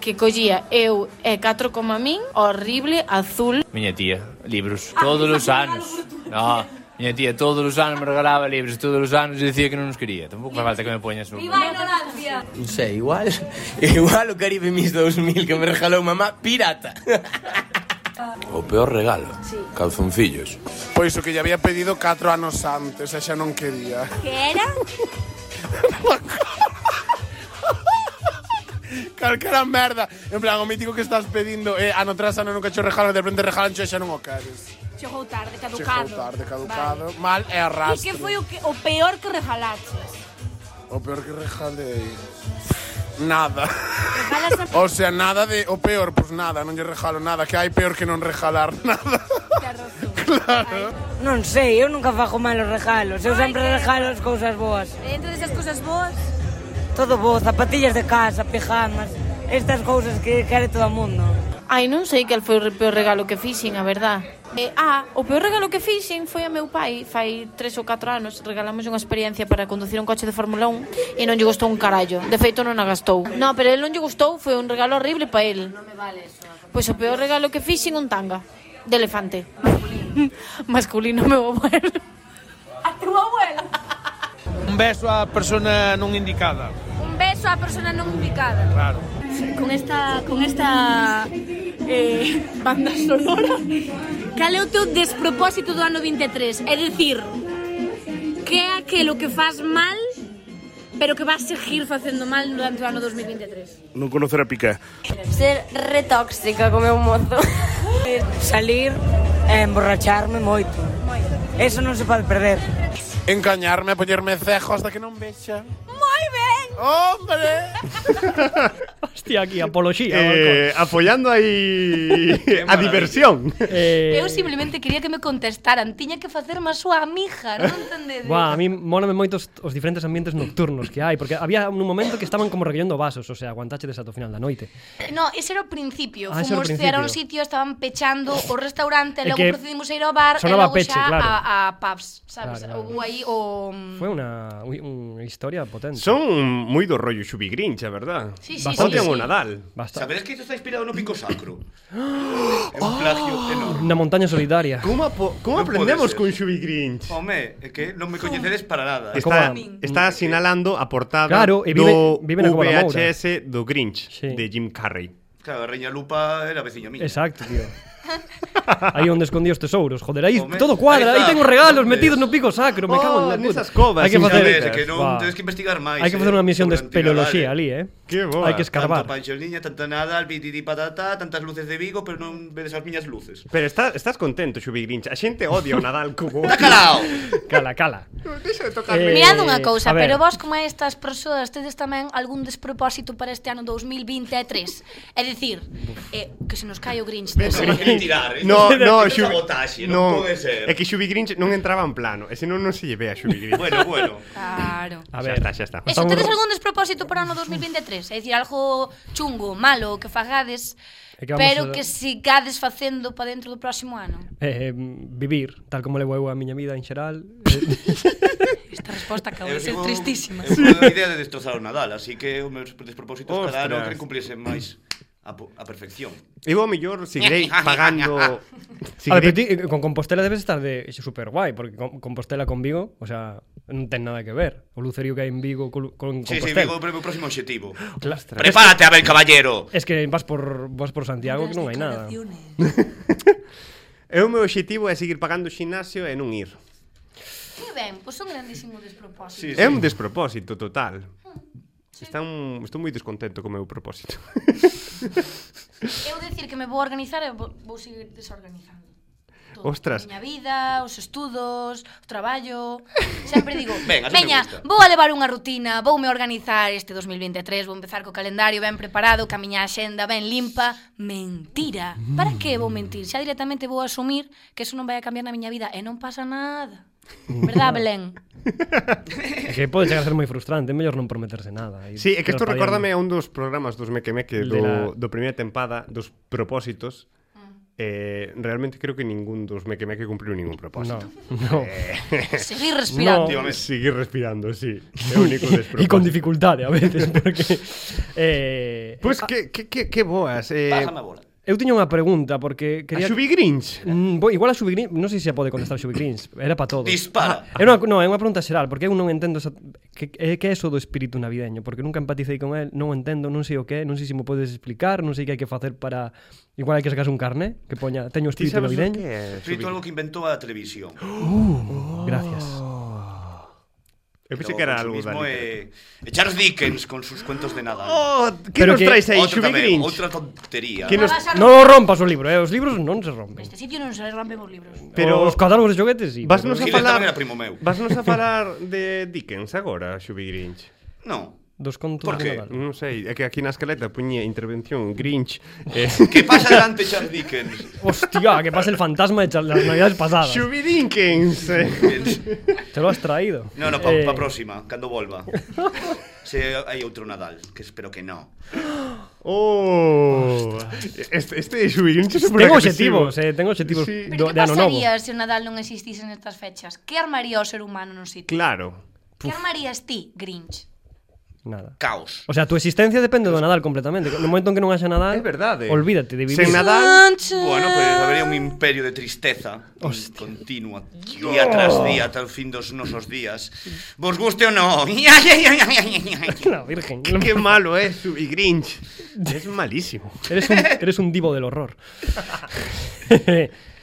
[SPEAKER 6] que collía eu e catro como a min, horrible, azul.
[SPEAKER 7] Miña tía, libros. Todos os anos. No, miña tía todos os anos me regalaba libros, todos os anos e dicía que non os quería. Tampouco fai falta que me poñas un...
[SPEAKER 2] ignorancia.
[SPEAKER 7] Non sei, igual, igual o Caribe Mis 2000 que me regalou mamá pirata.
[SPEAKER 10] O peor regalo? Sí. Calzoncillos.
[SPEAKER 8] pois o que lle había pedido 4 anos antes e xa non quería.
[SPEAKER 2] Que era?
[SPEAKER 8] Calquera merda. En plan, o mítico que estás pedindo eh, ano tras ano nunca cho regalan, de repente regalan cho e xa non o queres.
[SPEAKER 6] Chegou tarde,
[SPEAKER 8] Chegou tarde, caducado, vale. mal e arrastre.
[SPEAKER 6] o, que, o peor que regalaches?
[SPEAKER 8] O peor que regalei... Nada. o sea, nada de... O peor, pues nada, non lle regalo nada. Que hai peor que non regalar nada. claro.
[SPEAKER 9] Non sei, eu nunca fago malos regalos. Eu sempre regalo as cousas boas.
[SPEAKER 2] Dentro desas cousas boas?
[SPEAKER 9] Todo bo, zapatillas de casa, pijamas, estas cousas que quere todo o mundo.
[SPEAKER 6] Ai, non sei cal foi o re- peor regalo que fixen, a verdad. Eh, ah, o peor regalo que fixen foi a meu pai fai tres ou catro anos regalamos unha experiencia para conducir un coche de Fórmula 1 e non lle gustou un carallo de feito non a gastou no, pero el non lle gustou foi un regalo horrible para el non me vale eso pois o peor regalo que fixen un tanga de elefante masculino meu abuelo
[SPEAKER 8] Un beso á persona non indicada.
[SPEAKER 2] Un beso á persona non ubicada.
[SPEAKER 8] Claro.
[SPEAKER 6] con esta con esta eh, banda sonora cal é o teu despropósito do ano 23 é dicir que é aquilo que faz mal
[SPEAKER 2] pero que vas a seguir facendo mal durante o ano 2023.
[SPEAKER 5] Non conocer a Piqué.
[SPEAKER 11] Ser retóxica con meu mozo.
[SPEAKER 9] Salir e emborracharme moito. Eso non se pode perder.
[SPEAKER 8] Engañarme a poñerme cejo hasta que non vexa.
[SPEAKER 11] Moi ben.
[SPEAKER 8] Oh, Hombre.
[SPEAKER 3] Hostia, aquí, apología.
[SPEAKER 1] Eh, apoyando aí a diversión.
[SPEAKER 3] Eh,
[SPEAKER 2] Eu simplemente quería que me contestaran. Tiña que facerme a súa amiga, non entendedes?
[SPEAKER 3] Buah, a mí mólame moito os, os diferentes ambientes nocturnos que hai, porque había un momento que estaban como recollendo vasos, o sea, aguantáchetes ata o final da noite.
[SPEAKER 2] No, ese era o principio.
[SPEAKER 3] Ah, ese era o
[SPEAKER 2] Fomos cear a un
[SPEAKER 3] principio.
[SPEAKER 2] sitio, estaban pechando o restaurante,
[SPEAKER 3] É
[SPEAKER 2] e logo
[SPEAKER 3] que
[SPEAKER 2] procedimos a ir ao bar, e
[SPEAKER 3] sonaba
[SPEAKER 2] logo
[SPEAKER 3] peche,
[SPEAKER 2] xa
[SPEAKER 3] claro.
[SPEAKER 2] a, a pubs, sabes?
[SPEAKER 3] Claro, claro.
[SPEAKER 2] Ou aí o... mm,
[SPEAKER 3] Fue una, ui- unha historia potente.
[SPEAKER 1] Son moi do rollo xubigrincha, verdad?
[SPEAKER 2] Sí, sí,
[SPEAKER 1] Bastante
[SPEAKER 2] sí, sí.
[SPEAKER 1] o Nadal.
[SPEAKER 3] Bastante.
[SPEAKER 4] ¿Sabéis que esto está inspirado en un pico sacro? É un plagio
[SPEAKER 1] Ah.
[SPEAKER 4] enorme.
[SPEAKER 3] Una montaña solitaria.
[SPEAKER 1] Como, apo- como
[SPEAKER 4] Non
[SPEAKER 1] aprendemos con
[SPEAKER 4] pode
[SPEAKER 1] xubigrincha?
[SPEAKER 4] Home, é que non me coñecedes para nada.
[SPEAKER 1] Está, está sinalando a portada
[SPEAKER 3] Claro, e vive-
[SPEAKER 1] do
[SPEAKER 3] vive na Cova da Moura.
[SPEAKER 1] VHS do Grinch de Jim Carrey.
[SPEAKER 4] Claro, a Reña Lupa era veciña miña.
[SPEAKER 3] Exacto, tío. Aí onde escondí os tesouros, joder, aí
[SPEAKER 4] Home,
[SPEAKER 3] todo cuadra,
[SPEAKER 4] aí
[SPEAKER 3] aí
[SPEAKER 4] está.
[SPEAKER 3] tengo regalos metidos no pico sacro, me cago en la
[SPEAKER 1] Oh,
[SPEAKER 3] puta.
[SPEAKER 1] nesas covas,
[SPEAKER 3] Hai que
[SPEAKER 1] sin
[SPEAKER 3] facer,
[SPEAKER 1] saber,
[SPEAKER 4] que non tedes que investigar máis,
[SPEAKER 3] Hai que facer
[SPEAKER 4] eh,
[SPEAKER 3] unha misión de
[SPEAKER 4] sobre
[SPEAKER 3] espeleoloxía
[SPEAKER 4] antigüedades.
[SPEAKER 3] ali, eh.
[SPEAKER 1] Que boa.
[SPEAKER 3] Hai que escarbar.
[SPEAKER 4] Tanto Pancho Niña, tanta Nadal, bititi patata, tantas luces de Vigo, pero non vedes as miñas luces.
[SPEAKER 1] Pero está, estás contento, Xubigrincha. A xente odia o Nadal como...
[SPEAKER 4] Calao!
[SPEAKER 3] Cala, cala.
[SPEAKER 1] Deixa de
[SPEAKER 3] tocarme. Eh,
[SPEAKER 2] Mirad unha cousa,
[SPEAKER 3] a ver.
[SPEAKER 2] pero vos como estas persoas tedes tamén algún despropósito para este ano 2023. É dicir, eh, que se nos cae o Grinch.
[SPEAKER 4] Pero
[SPEAKER 2] dese
[SPEAKER 4] non
[SPEAKER 2] ano.
[SPEAKER 4] quería tirar, eh.
[SPEAKER 1] No, no,
[SPEAKER 4] Xubi...
[SPEAKER 1] Xubi...
[SPEAKER 4] Sabotaxe,
[SPEAKER 1] no,
[SPEAKER 4] non pode ser.
[SPEAKER 1] É que Xubi Grinch non entraba en plano. E senón non se lle ve a Xubi Grinch.
[SPEAKER 4] Bueno, bueno.
[SPEAKER 2] Claro.
[SPEAKER 1] A ver. Xa está, xa está.
[SPEAKER 2] Eso, tedes algún despropósito para o ano 2023? É dicir, algo chungo, malo, que fagades,
[SPEAKER 3] É que vamos
[SPEAKER 2] pero
[SPEAKER 3] a-
[SPEAKER 2] que sigades facendo para dentro do próximo ano?
[SPEAKER 3] Eh, vivir, tal como levo eu a miña vida en xeral. eh,
[SPEAKER 2] Esta resposta acabou
[SPEAKER 4] Eu
[SPEAKER 2] de ser
[SPEAKER 4] sigo-
[SPEAKER 2] tristísima.
[SPEAKER 4] Eu fui a idea de destrozar o Nadal, así que os meus despropósitos cada ano
[SPEAKER 1] Ostras.
[SPEAKER 4] que cumplirse máis a, po- a perfección.
[SPEAKER 1] Eu ao mellor seguirei pagando...
[SPEAKER 3] a ver,
[SPEAKER 1] seguirei...
[SPEAKER 3] pero ti, eh, con Compostela debes estar de super guai, porque con- Compostela con Vigo, o sea, non ten nada que ver. O lucerio que hai en Vigo col- con,
[SPEAKER 4] Sí, sí,
[SPEAKER 3] Compostela.
[SPEAKER 4] Vigo, pero o meu próximo objetivo.
[SPEAKER 3] Clastra.
[SPEAKER 4] Prepárate, Abel Caballero.
[SPEAKER 3] Es que vas por vas por Santiago que non hai nada.
[SPEAKER 1] Eu o meu objetivo é seguir pagando o xinasio e non ir.
[SPEAKER 2] Que ben, pois un grandísimo despropósito.
[SPEAKER 1] É un despropósito total. Está un... Estou moi descontento co meu propósito.
[SPEAKER 2] Eu decir que me vou organizar e vou, vou seguir desorganizando.
[SPEAKER 1] Ostras.
[SPEAKER 2] A miña vida, os estudos, o traballo... Sempre digo,
[SPEAKER 1] Ben, así me
[SPEAKER 2] veña,
[SPEAKER 1] gusta."
[SPEAKER 2] vou a levar unha rutina, vou me organizar este 2023, vou empezar co calendario ben preparado, ca miña axenda ben limpa. Mentira. Para que vou mentir? Xa directamente vou asumir que eso non vai a cambiar na miña vida e non pasa nada. Verdad, Belén?
[SPEAKER 3] É que pode chegar a ser moi frustrante, é mellor non prometerse nada. E
[SPEAKER 1] Sí, é que isto
[SPEAKER 3] traspadiando.
[SPEAKER 1] recórdame a un dos programas dos Mequemeque
[SPEAKER 3] El
[SPEAKER 1] do,
[SPEAKER 3] de la-
[SPEAKER 1] do primeira tempada, dos propósitos. Eh, realmente creo que ningún dos Mequemeque cumpliu ningún propósito.
[SPEAKER 3] No, no.
[SPEAKER 1] Eh,
[SPEAKER 2] Seguir respirando.
[SPEAKER 1] No, seguir respirando, sí. É o único despropósito.
[SPEAKER 3] E con dificultade a veces, porque... Eh,
[SPEAKER 1] Pois que, que, que, que boas. Eh,
[SPEAKER 3] Pásame a bola. Eu tiño unha pregunta, porque quería...
[SPEAKER 1] Xubi Grinch?
[SPEAKER 3] Mm, bo, igual a Xubi Grinch, non sei se a pode contestar Xubi Grinch, era para todos.
[SPEAKER 4] Dispara.
[SPEAKER 3] Ah, é unha, non, é unha pregunta xeral, porque eu non entendo esa, que, é que é eso do espírito navideño, porque nunca empaticei con el, non o entendo, non sei o que é, non sei se me podes explicar, non sei que hai que facer para... Igual hai que sacar un carné, que poña, teño espírito
[SPEAKER 4] sabes o que
[SPEAKER 3] navideño.
[SPEAKER 4] é, Espírito algo que inventou a televisión.
[SPEAKER 3] Uh, gracias.
[SPEAKER 1] Eu
[SPEAKER 3] pensei que era algo da
[SPEAKER 4] mismo é... é Charles Dickens con sus cuentos de Nadal.
[SPEAKER 1] Oh,
[SPEAKER 3] que Pero nos que- traes aí,
[SPEAKER 4] Outro
[SPEAKER 3] Xubi
[SPEAKER 4] tamén,
[SPEAKER 3] Grinch?
[SPEAKER 4] Outra tontería. Ah,
[SPEAKER 3] Que nos...
[SPEAKER 2] vas a
[SPEAKER 3] Non rompas o libro, eh? os libros non se rompen.
[SPEAKER 2] Este sitio non se rompen os libros.
[SPEAKER 3] Pero os catálogos de xoguetes sí.
[SPEAKER 1] Vasnos a
[SPEAKER 3] pero-
[SPEAKER 1] falar...
[SPEAKER 4] era primo meu.
[SPEAKER 1] Vasnos a falar de Dickens agora, Xubi Grinch?
[SPEAKER 4] No.
[SPEAKER 3] Dos contos
[SPEAKER 1] Por
[SPEAKER 3] de
[SPEAKER 1] que?
[SPEAKER 3] Nadal.
[SPEAKER 1] Non sei, é que aquí na escaleta puñía intervención Grinch. Eh.
[SPEAKER 4] Que pasa delante Charles Dickens?
[SPEAKER 3] Hostia, que pasa el fantasma de Char- las navidades pasadas.
[SPEAKER 1] Xubi Dickens. eh.
[SPEAKER 3] Te lo has traído.
[SPEAKER 4] No, no, pa,
[SPEAKER 3] Eh,
[SPEAKER 4] pa próxima, cando volva. Se hai outro Nadal, que espero que no.
[SPEAKER 1] Oh. Este, este Xubi Grinch é
[SPEAKER 3] Tengo
[SPEAKER 1] superagresivo.
[SPEAKER 3] objetivos, eh, tengo objetivos
[SPEAKER 2] Pero
[SPEAKER 3] do,
[SPEAKER 2] que
[SPEAKER 3] de ano novo.
[SPEAKER 2] pasaría se o Nadal non existise nestas fechas? Que armaría o ser humano no
[SPEAKER 3] eh.
[SPEAKER 2] sitio?
[SPEAKER 1] Claro.
[SPEAKER 2] Que armarías ti, Grinch?
[SPEAKER 3] Nada.
[SPEAKER 4] Caos.
[SPEAKER 3] O sea, tu existencia depende do Nadal completamente. No momento en que non haxa
[SPEAKER 4] É
[SPEAKER 3] Nadal,
[SPEAKER 1] eh.
[SPEAKER 4] verdade.
[SPEAKER 3] olvídate de vivir.
[SPEAKER 4] Sen
[SPEAKER 2] Nadal-
[SPEAKER 4] Bueno, pues habería un imperio de tristeza Hostia. continua, día tras día, ata o fin dos nosos días. Vos guste ou non?
[SPEAKER 3] La virgen.
[SPEAKER 1] Qué malo es Xubi Grinch. Es malísimo.
[SPEAKER 3] Eres un, eres un divo del horror.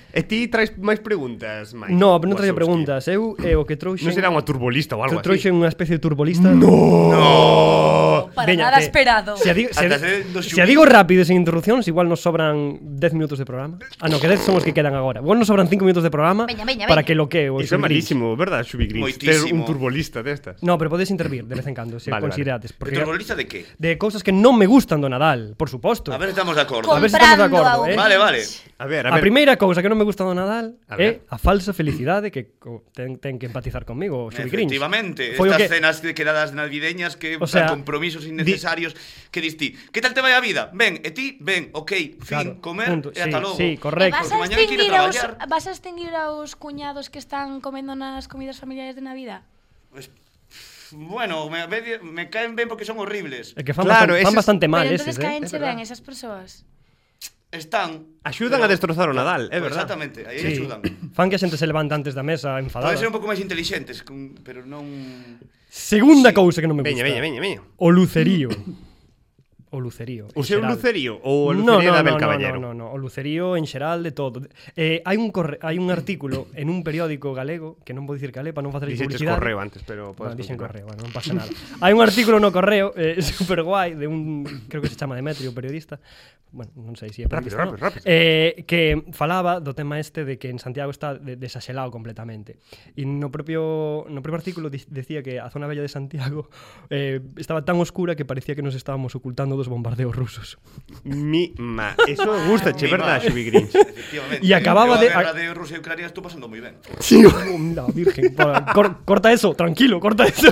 [SPEAKER 1] E ti traes máis preguntas, Mike?
[SPEAKER 3] No, non traía
[SPEAKER 1] Wazowski.
[SPEAKER 3] preguntas. Eu é o que trouxen...
[SPEAKER 1] Non será unha turbolista ou algo
[SPEAKER 3] Que trouxen unha especie de turbolista.
[SPEAKER 1] No! No!
[SPEAKER 3] Oh,
[SPEAKER 2] Para nada esperado.
[SPEAKER 3] Se a, di, se,
[SPEAKER 2] Ata
[SPEAKER 4] ser dos
[SPEAKER 3] se a digo rápido e sin interrupcións, igual nos sobran 10 minutos de programa. Ah, no, que 10 son os que quedan agora. Igual nos sobran 5 minutos de programa
[SPEAKER 2] Veña, veña, veña.
[SPEAKER 3] para que lo que...
[SPEAKER 1] Iso é malísimo, verdad, Xubi Gris? Ter un turbolista destas.
[SPEAKER 3] No, pero podes intervir de vez en cando, se
[SPEAKER 1] Vale, vale.
[SPEAKER 3] considerades.
[SPEAKER 1] De
[SPEAKER 3] Porque
[SPEAKER 4] turbolista de que?
[SPEAKER 3] De cousas que non me gustan do Nadal, por suposto.
[SPEAKER 4] A ver, estamos de acordo.
[SPEAKER 3] A ver se estamos de
[SPEAKER 4] Comprando a
[SPEAKER 3] acordo, eh?
[SPEAKER 4] Vale, vale. A ver, a
[SPEAKER 3] a
[SPEAKER 4] ver.
[SPEAKER 3] primeira cousa que non me gusta do Nadal
[SPEAKER 4] A
[SPEAKER 3] é a falsa felicidade que co- ten, ten que empatizar conmigo, o Xubi Grinch.
[SPEAKER 4] Efectivamente,
[SPEAKER 3] Foi o
[SPEAKER 4] estas
[SPEAKER 3] que-
[SPEAKER 4] cenas de quedadas navideñas que
[SPEAKER 3] O
[SPEAKER 4] o
[SPEAKER 3] sea,
[SPEAKER 4] compromisos innecesarios que dis ti. Que tal te vai a vida? Ben, e ti? Ben, ok, fin,
[SPEAKER 3] Claro,
[SPEAKER 4] comer
[SPEAKER 3] punto.
[SPEAKER 4] e ata
[SPEAKER 3] Sí,
[SPEAKER 4] logo.
[SPEAKER 3] sí, correcto.
[SPEAKER 2] Vas
[SPEAKER 4] Porque
[SPEAKER 2] a,
[SPEAKER 4] mañá hai que ir a
[SPEAKER 2] extinguir aos,
[SPEAKER 4] traballar.
[SPEAKER 2] vas a extinguir aos cuñados que están comendo nas comidas familiares de Navidad?
[SPEAKER 4] Pues, Bueno, me, me- me caen ben porque son horribles.
[SPEAKER 3] É que fan Claro, bastan- fan eses- bastante mal ¿eh?
[SPEAKER 2] Pero entonces caense
[SPEAKER 4] É verdad.
[SPEAKER 2] ben esas persoas.
[SPEAKER 4] Están.
[SPEAKER 1] Axudan a destrozar o Nadal, é
[SPEAKER 4] Pues
[SPEAKER 1] verdad.
[SPEAKER 4] Exactamente, aí
[SPEAKER 3] Sí.
[SPEAKER 4] axudan.
[SPEAKER 3] Fan que a xente se levanta antes da mesa enfadada.
[SPEAKER 4] Poden ser un pouco máis intelixentes, con- pero non...
[SPEAKER 3] Segunda cousa que non me gusta.
[SPEAKER 1] Veña, veña, veña, veña.
[SPEAKER 3] O lucerío. O lucerío.
[SPEAKER 1] O
[SPEAKER 3] en
[SPEAKER 1] seu
[SPEAKER 3] xeral.
[SPEAKER 1] lucerío ou o lucerío da Abel Caballero?
[SPEAKER 3] No, no, no, o lucerío en xeral de todo. Eh, hai un corre, hai un artículo en un periódico galego, que non vou dicir calé para non facer
[SPEAKER 1] Dixeches
[SPEAKER 3] publicidade.
[SPEAKER 1] correo antes, pero podes
[SPEAKER 3] Bueno, dixen
[SPEAKER 1] continuar.
[SPEAKER 3] correo, bueno, non pasa nada. hai un artículo no correo eh, super guai de un creo que se chama Demetrio, periodista. Bueno, non sei se é
[SPEAKER 1] Rápido,
[SPEAKER 3] periodista.
[SPEAKER 1] rápido,
[SPEAKER 3] no?
[SPEAKER 1] rápido.
[SPEAKER 3] Eh, que falaba do tema este de que en Santiago está de- desaxelado completamente. E no propio no propio artículo di- decía que a zona bella de Santiago eh, estaba tan oscura que parecía que nos estábamos ocultando dos bombardeos rusos.
[SPEAKER 1] Mi ma, eso gusta, che,
[SPEAKER 4] Mi ma.
[SPEAKER 1] verdad, Xubi Grinch.
[SPEAKER 4] Efectivamente.
[SPEAKER 3] Y
[SPEAKER 4] Yo
[SPEAKER 3] acababa
[SPEAKER 4] a
[SPEAKER 3] de-
[SPEAKER 4] guerra de Rusia y Ucrania estoy pasando muy bien.
[SPEAKER 3] Sí, la Oh, virgen. Para, cor- corta eso, tranquilo, corta eso.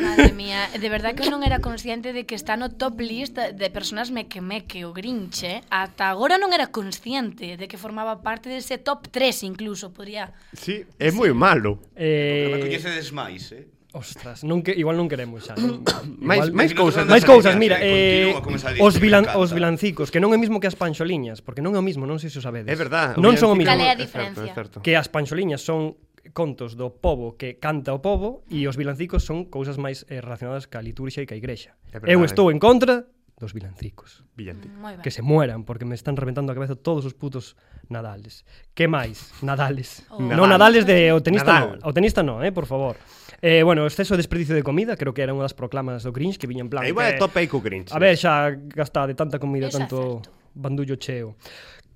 [SPEAKER 2] Madre mía, de verdad que eu non era consciente de que está no top list de personas meque meque o Grinch, eh? Ata agora non era consciente de que formaba parte dese top 3 incluso, podría...
[SPEAKER 1] Sí, é moi malo.
[SPEAKER 4] Pero me
[SPEAKER 3] eh,
[SPEAKER 4] coñecedes máis, eh?
[SPEAKER 3] Ostras, non que, igual non queremos xa. non-
[SPEAKER 1] Máis-
[SPEAKER 3] igual-
[SPEAKER 1] máis cousas,
[SPEAKER 3] máis
[SPEAKER 1] non
[SPEAKER 3] cousas,
[SPEAKER 1] sabía,
[SPEAKER 3] mira,
[SPEAKER 1] sí,
[SPEAKER 3] eh,
[SPEAKER 1] continúa con esa lista,
[SPEAKER 3] os,
[SPEAKER 1] me
[SPEAKER 3] vilan,
[SPEAKER 1] encanta.
[SPEAKER 3] os vilancicos, que non é o mismo que as panxoliñas, porque non é o mismo, non sei se o sabedes.
[SPEAKER 1] É verdad, o
[SPEAKER 3] Non
[SPEAKER 1] villancico-
[SPEAKER 3] son o mismo.
[SPEAKER 2] Cal é a É certo, diferencia? é certo.
[SPEAKER 3] Que as panxoliñas son contos do povo que canta o povo e os vilancicos son cousas máis eh, relacionadas ca liturxia e ca igrexa.
[SPEAKER 1] É verdade.
[SPEAKER 3] Eu estou en contra dos vilancicos.
[SPEAKER 1] Villancico.
[SPEAKER 2] Moi ben.
[SPEAKER 3] Que se mueran porque me están reventando a cabeza todos os putos Nadales. Que máis? Nadales.
[SPEAKER 1] Oh.
[SPEAKER 3] No
[SPEAKER 1] Nadal.
[SPEAKER 3] Nadales de o tenista
[SPEAKER 1] Nadal.
[SPEAKER 3] no, o tenista no, eh, por favor. Eh, bueno, o exceso de desperdicio de comida, creo que era unha das proclamas do Grinch que viña en plan.
[SPEAKER 1] Aí vai
[SPEAKER 3] que-
[SPEAKER 1] a tope aí co Grinch.
[SPEAKER 3] A ver, xa gastada de tanta comida,
[SPEAKER 2] Eso é
[SPEAKER 3] tanto bandullo cheo.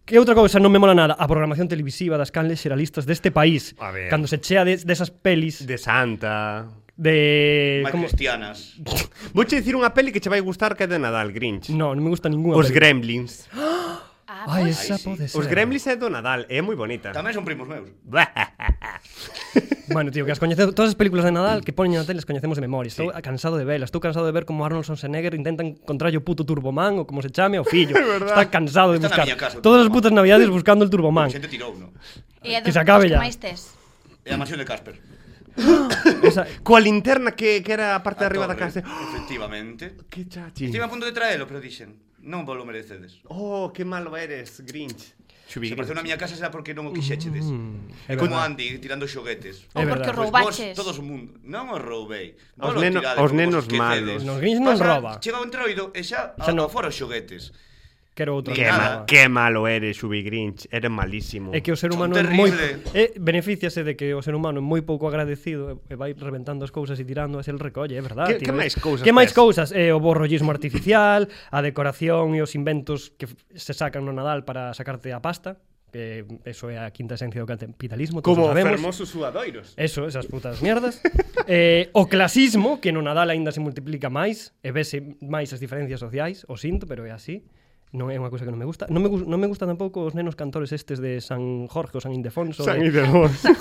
[SPEAKER 3] Que outra cousa non me mola nada? A programación televisiva das canles xeralistas deste país.
[SPEAKER 1] A ver.
[SPEAKER 3] Cando se chea de- desas pelis
[SPEAKER 1] de Santa,
[SPEAKER 3] de
[SPEAKER 4] Máis
[SPEAKER 3] eh, como
[SPEAKER 4] cristianas.
[SPEAKER 1] Vouche dicir unha peli que che vai gustar que é de Nadal, Grinch.
[SPEAKER 3] No, Ah, non me gusta ninguna
[SPEAKER 1] Os
[SPEAKER 3] peli.
[SPEAKER 1] Gremlins.
[SPEAKER 2] Ah,
[SPEAKER 3] Ai, esa pode ser.
[SPEAKER 1] Os Gremlins é do Nadal, é moi bonita.
[SPEAKER 4] Tamén son primos meus.
[SPEAKER 3] Bueno, tío, que as coñecemos todas as películas de Nadal que poñen na tele as coñecemos de memoria. Estou cansado de velas, estou cansado de ver como Arnold Schwarzenegger intenta encontrar o puto Turboman ou como se chame o fillo.
[SPEAKER 4] É verdad.
[SPEAKER 3] Está cansado de
[SPEAKER 4] Está na
[SPEAKER 3] buscar
[SPEAKER 4] miña casa o
[SPEAKER 3] todas as
[SPEAKER 4] Turboman.
[SPEAKER 3] putas navidades buscando el Turboman.
[SPEAKER 4] Xente tirou, non?
[SPEAKER 2] E a
[SPEAKER 3] Que
[SPEAKER 2] dos-
[SPEAKER 3] se acabe
[SPEAKER 2] os
[SPEAKER 3] ya.
[SPEAKER 2] máis tes.
[SPEAKER 4] É a mansión de Casper.
[SPEAKER 3] Esa...
[SPEAKER 1] Coa linterna que, que era a parte de arriba da
[SPEAKER 4] Torre,
[SPEAKER 1] casa. ¡Oh,
[SPEAKER 4] Efectivamente.
[SPEAKER 1] Que chachi.
[SPEAKER 4] Estive a punto de traelo, pero dixen, non vos lo merecedes.
[SPEAKER 1] Oh, que malo eres, Grinch. Xubi
[SPEAKER 4] Se
[SPEAKER 1] Grinch.
[SPEAKER 4] apareceu na miña casa será porque non o quixéchedes.
[SPEAKER 1] é
[SPEAKER 4] É como
[SPEAKER 1] verdad.
[SPEAKER 4] Andy tirando xoguetes.
[SPEAKER 1] É Ou porque verdad. Mm. o
[SPEAKER 4] Pois
[SPEAKER 2] roubaches.
[SPEAKER 4] vos, todos o mundo. Non o roubei.
[SPEAKER 1] Aos
[SPEAKER 4] Vos lo
[SPEAKER 1] neno-
[SPEAKER 4] tirades,
[SPEAKER 1] aos
[SPEAKER 4] vos
[SPEAKER 1] nenos
[SPEAKER 4] esquecedes.
[SPEAKER 1] malos. Nos
[SPEAKER 3] Grinch non
[SPEAKER 4] Pasa-
[SPEAKER 3] rouba.
[SPEAKER 4] Chega o entroido e xa,
[SPEAKER 3] Xa
[SPEAKER 4] xa
[SPEAKER 3] non.
[SPEAKER 4] no. fora os xoguetes.
[SPEAKER 3] Quero outro.
[SPEAKER 1] Que, ma que malo eres, Xubi Grinch. Eres malísimo.
[SPEAKER 3] É que o ser humano é
[SPEAKER 4] Son
[SPEAKER 3] moi
[SPEAKER 4] terrible.
[SPEAKER 3] eh, beneficiase de que o ser humano é moi pouco agradecido e vai reventando as cousas e tirando as el recolle, é verdade,
[SPEAKER 1] Que- que
[SPEAKER 3] tío.
[SPEAKER 1] máis cousas
[SPEAKER 3] Que máis
[SPEAKER 1] tes?
[SPEAKER 3] cousas? Eh, o borrollismo artificial, a decoración e os inventos que f- se sacan no Nadal para sacarte a pasta, que eso é a quinta esencia do capitalismo, todos
[SPEAKER 1] Como
[SPEAKER 3] o sabemos.
[SPEAKER 1] fermosos suadoiros.
[SPEAKER 3] Eso, esas putas mierdas. eh, o clasismo, que no Nadal aínda se multiplica máis, e vese máis as diferencias sociais, o sinto, pero é así. Non é unha cousa que non me gusta. Non me, gus- non me gusta tampouco os nenos cantores estes de San Jorge ou San Ildefonso.
[SPEAKER 1] San
[SPEAKER 3] de-
[SPEAKER 1] Ildefonso.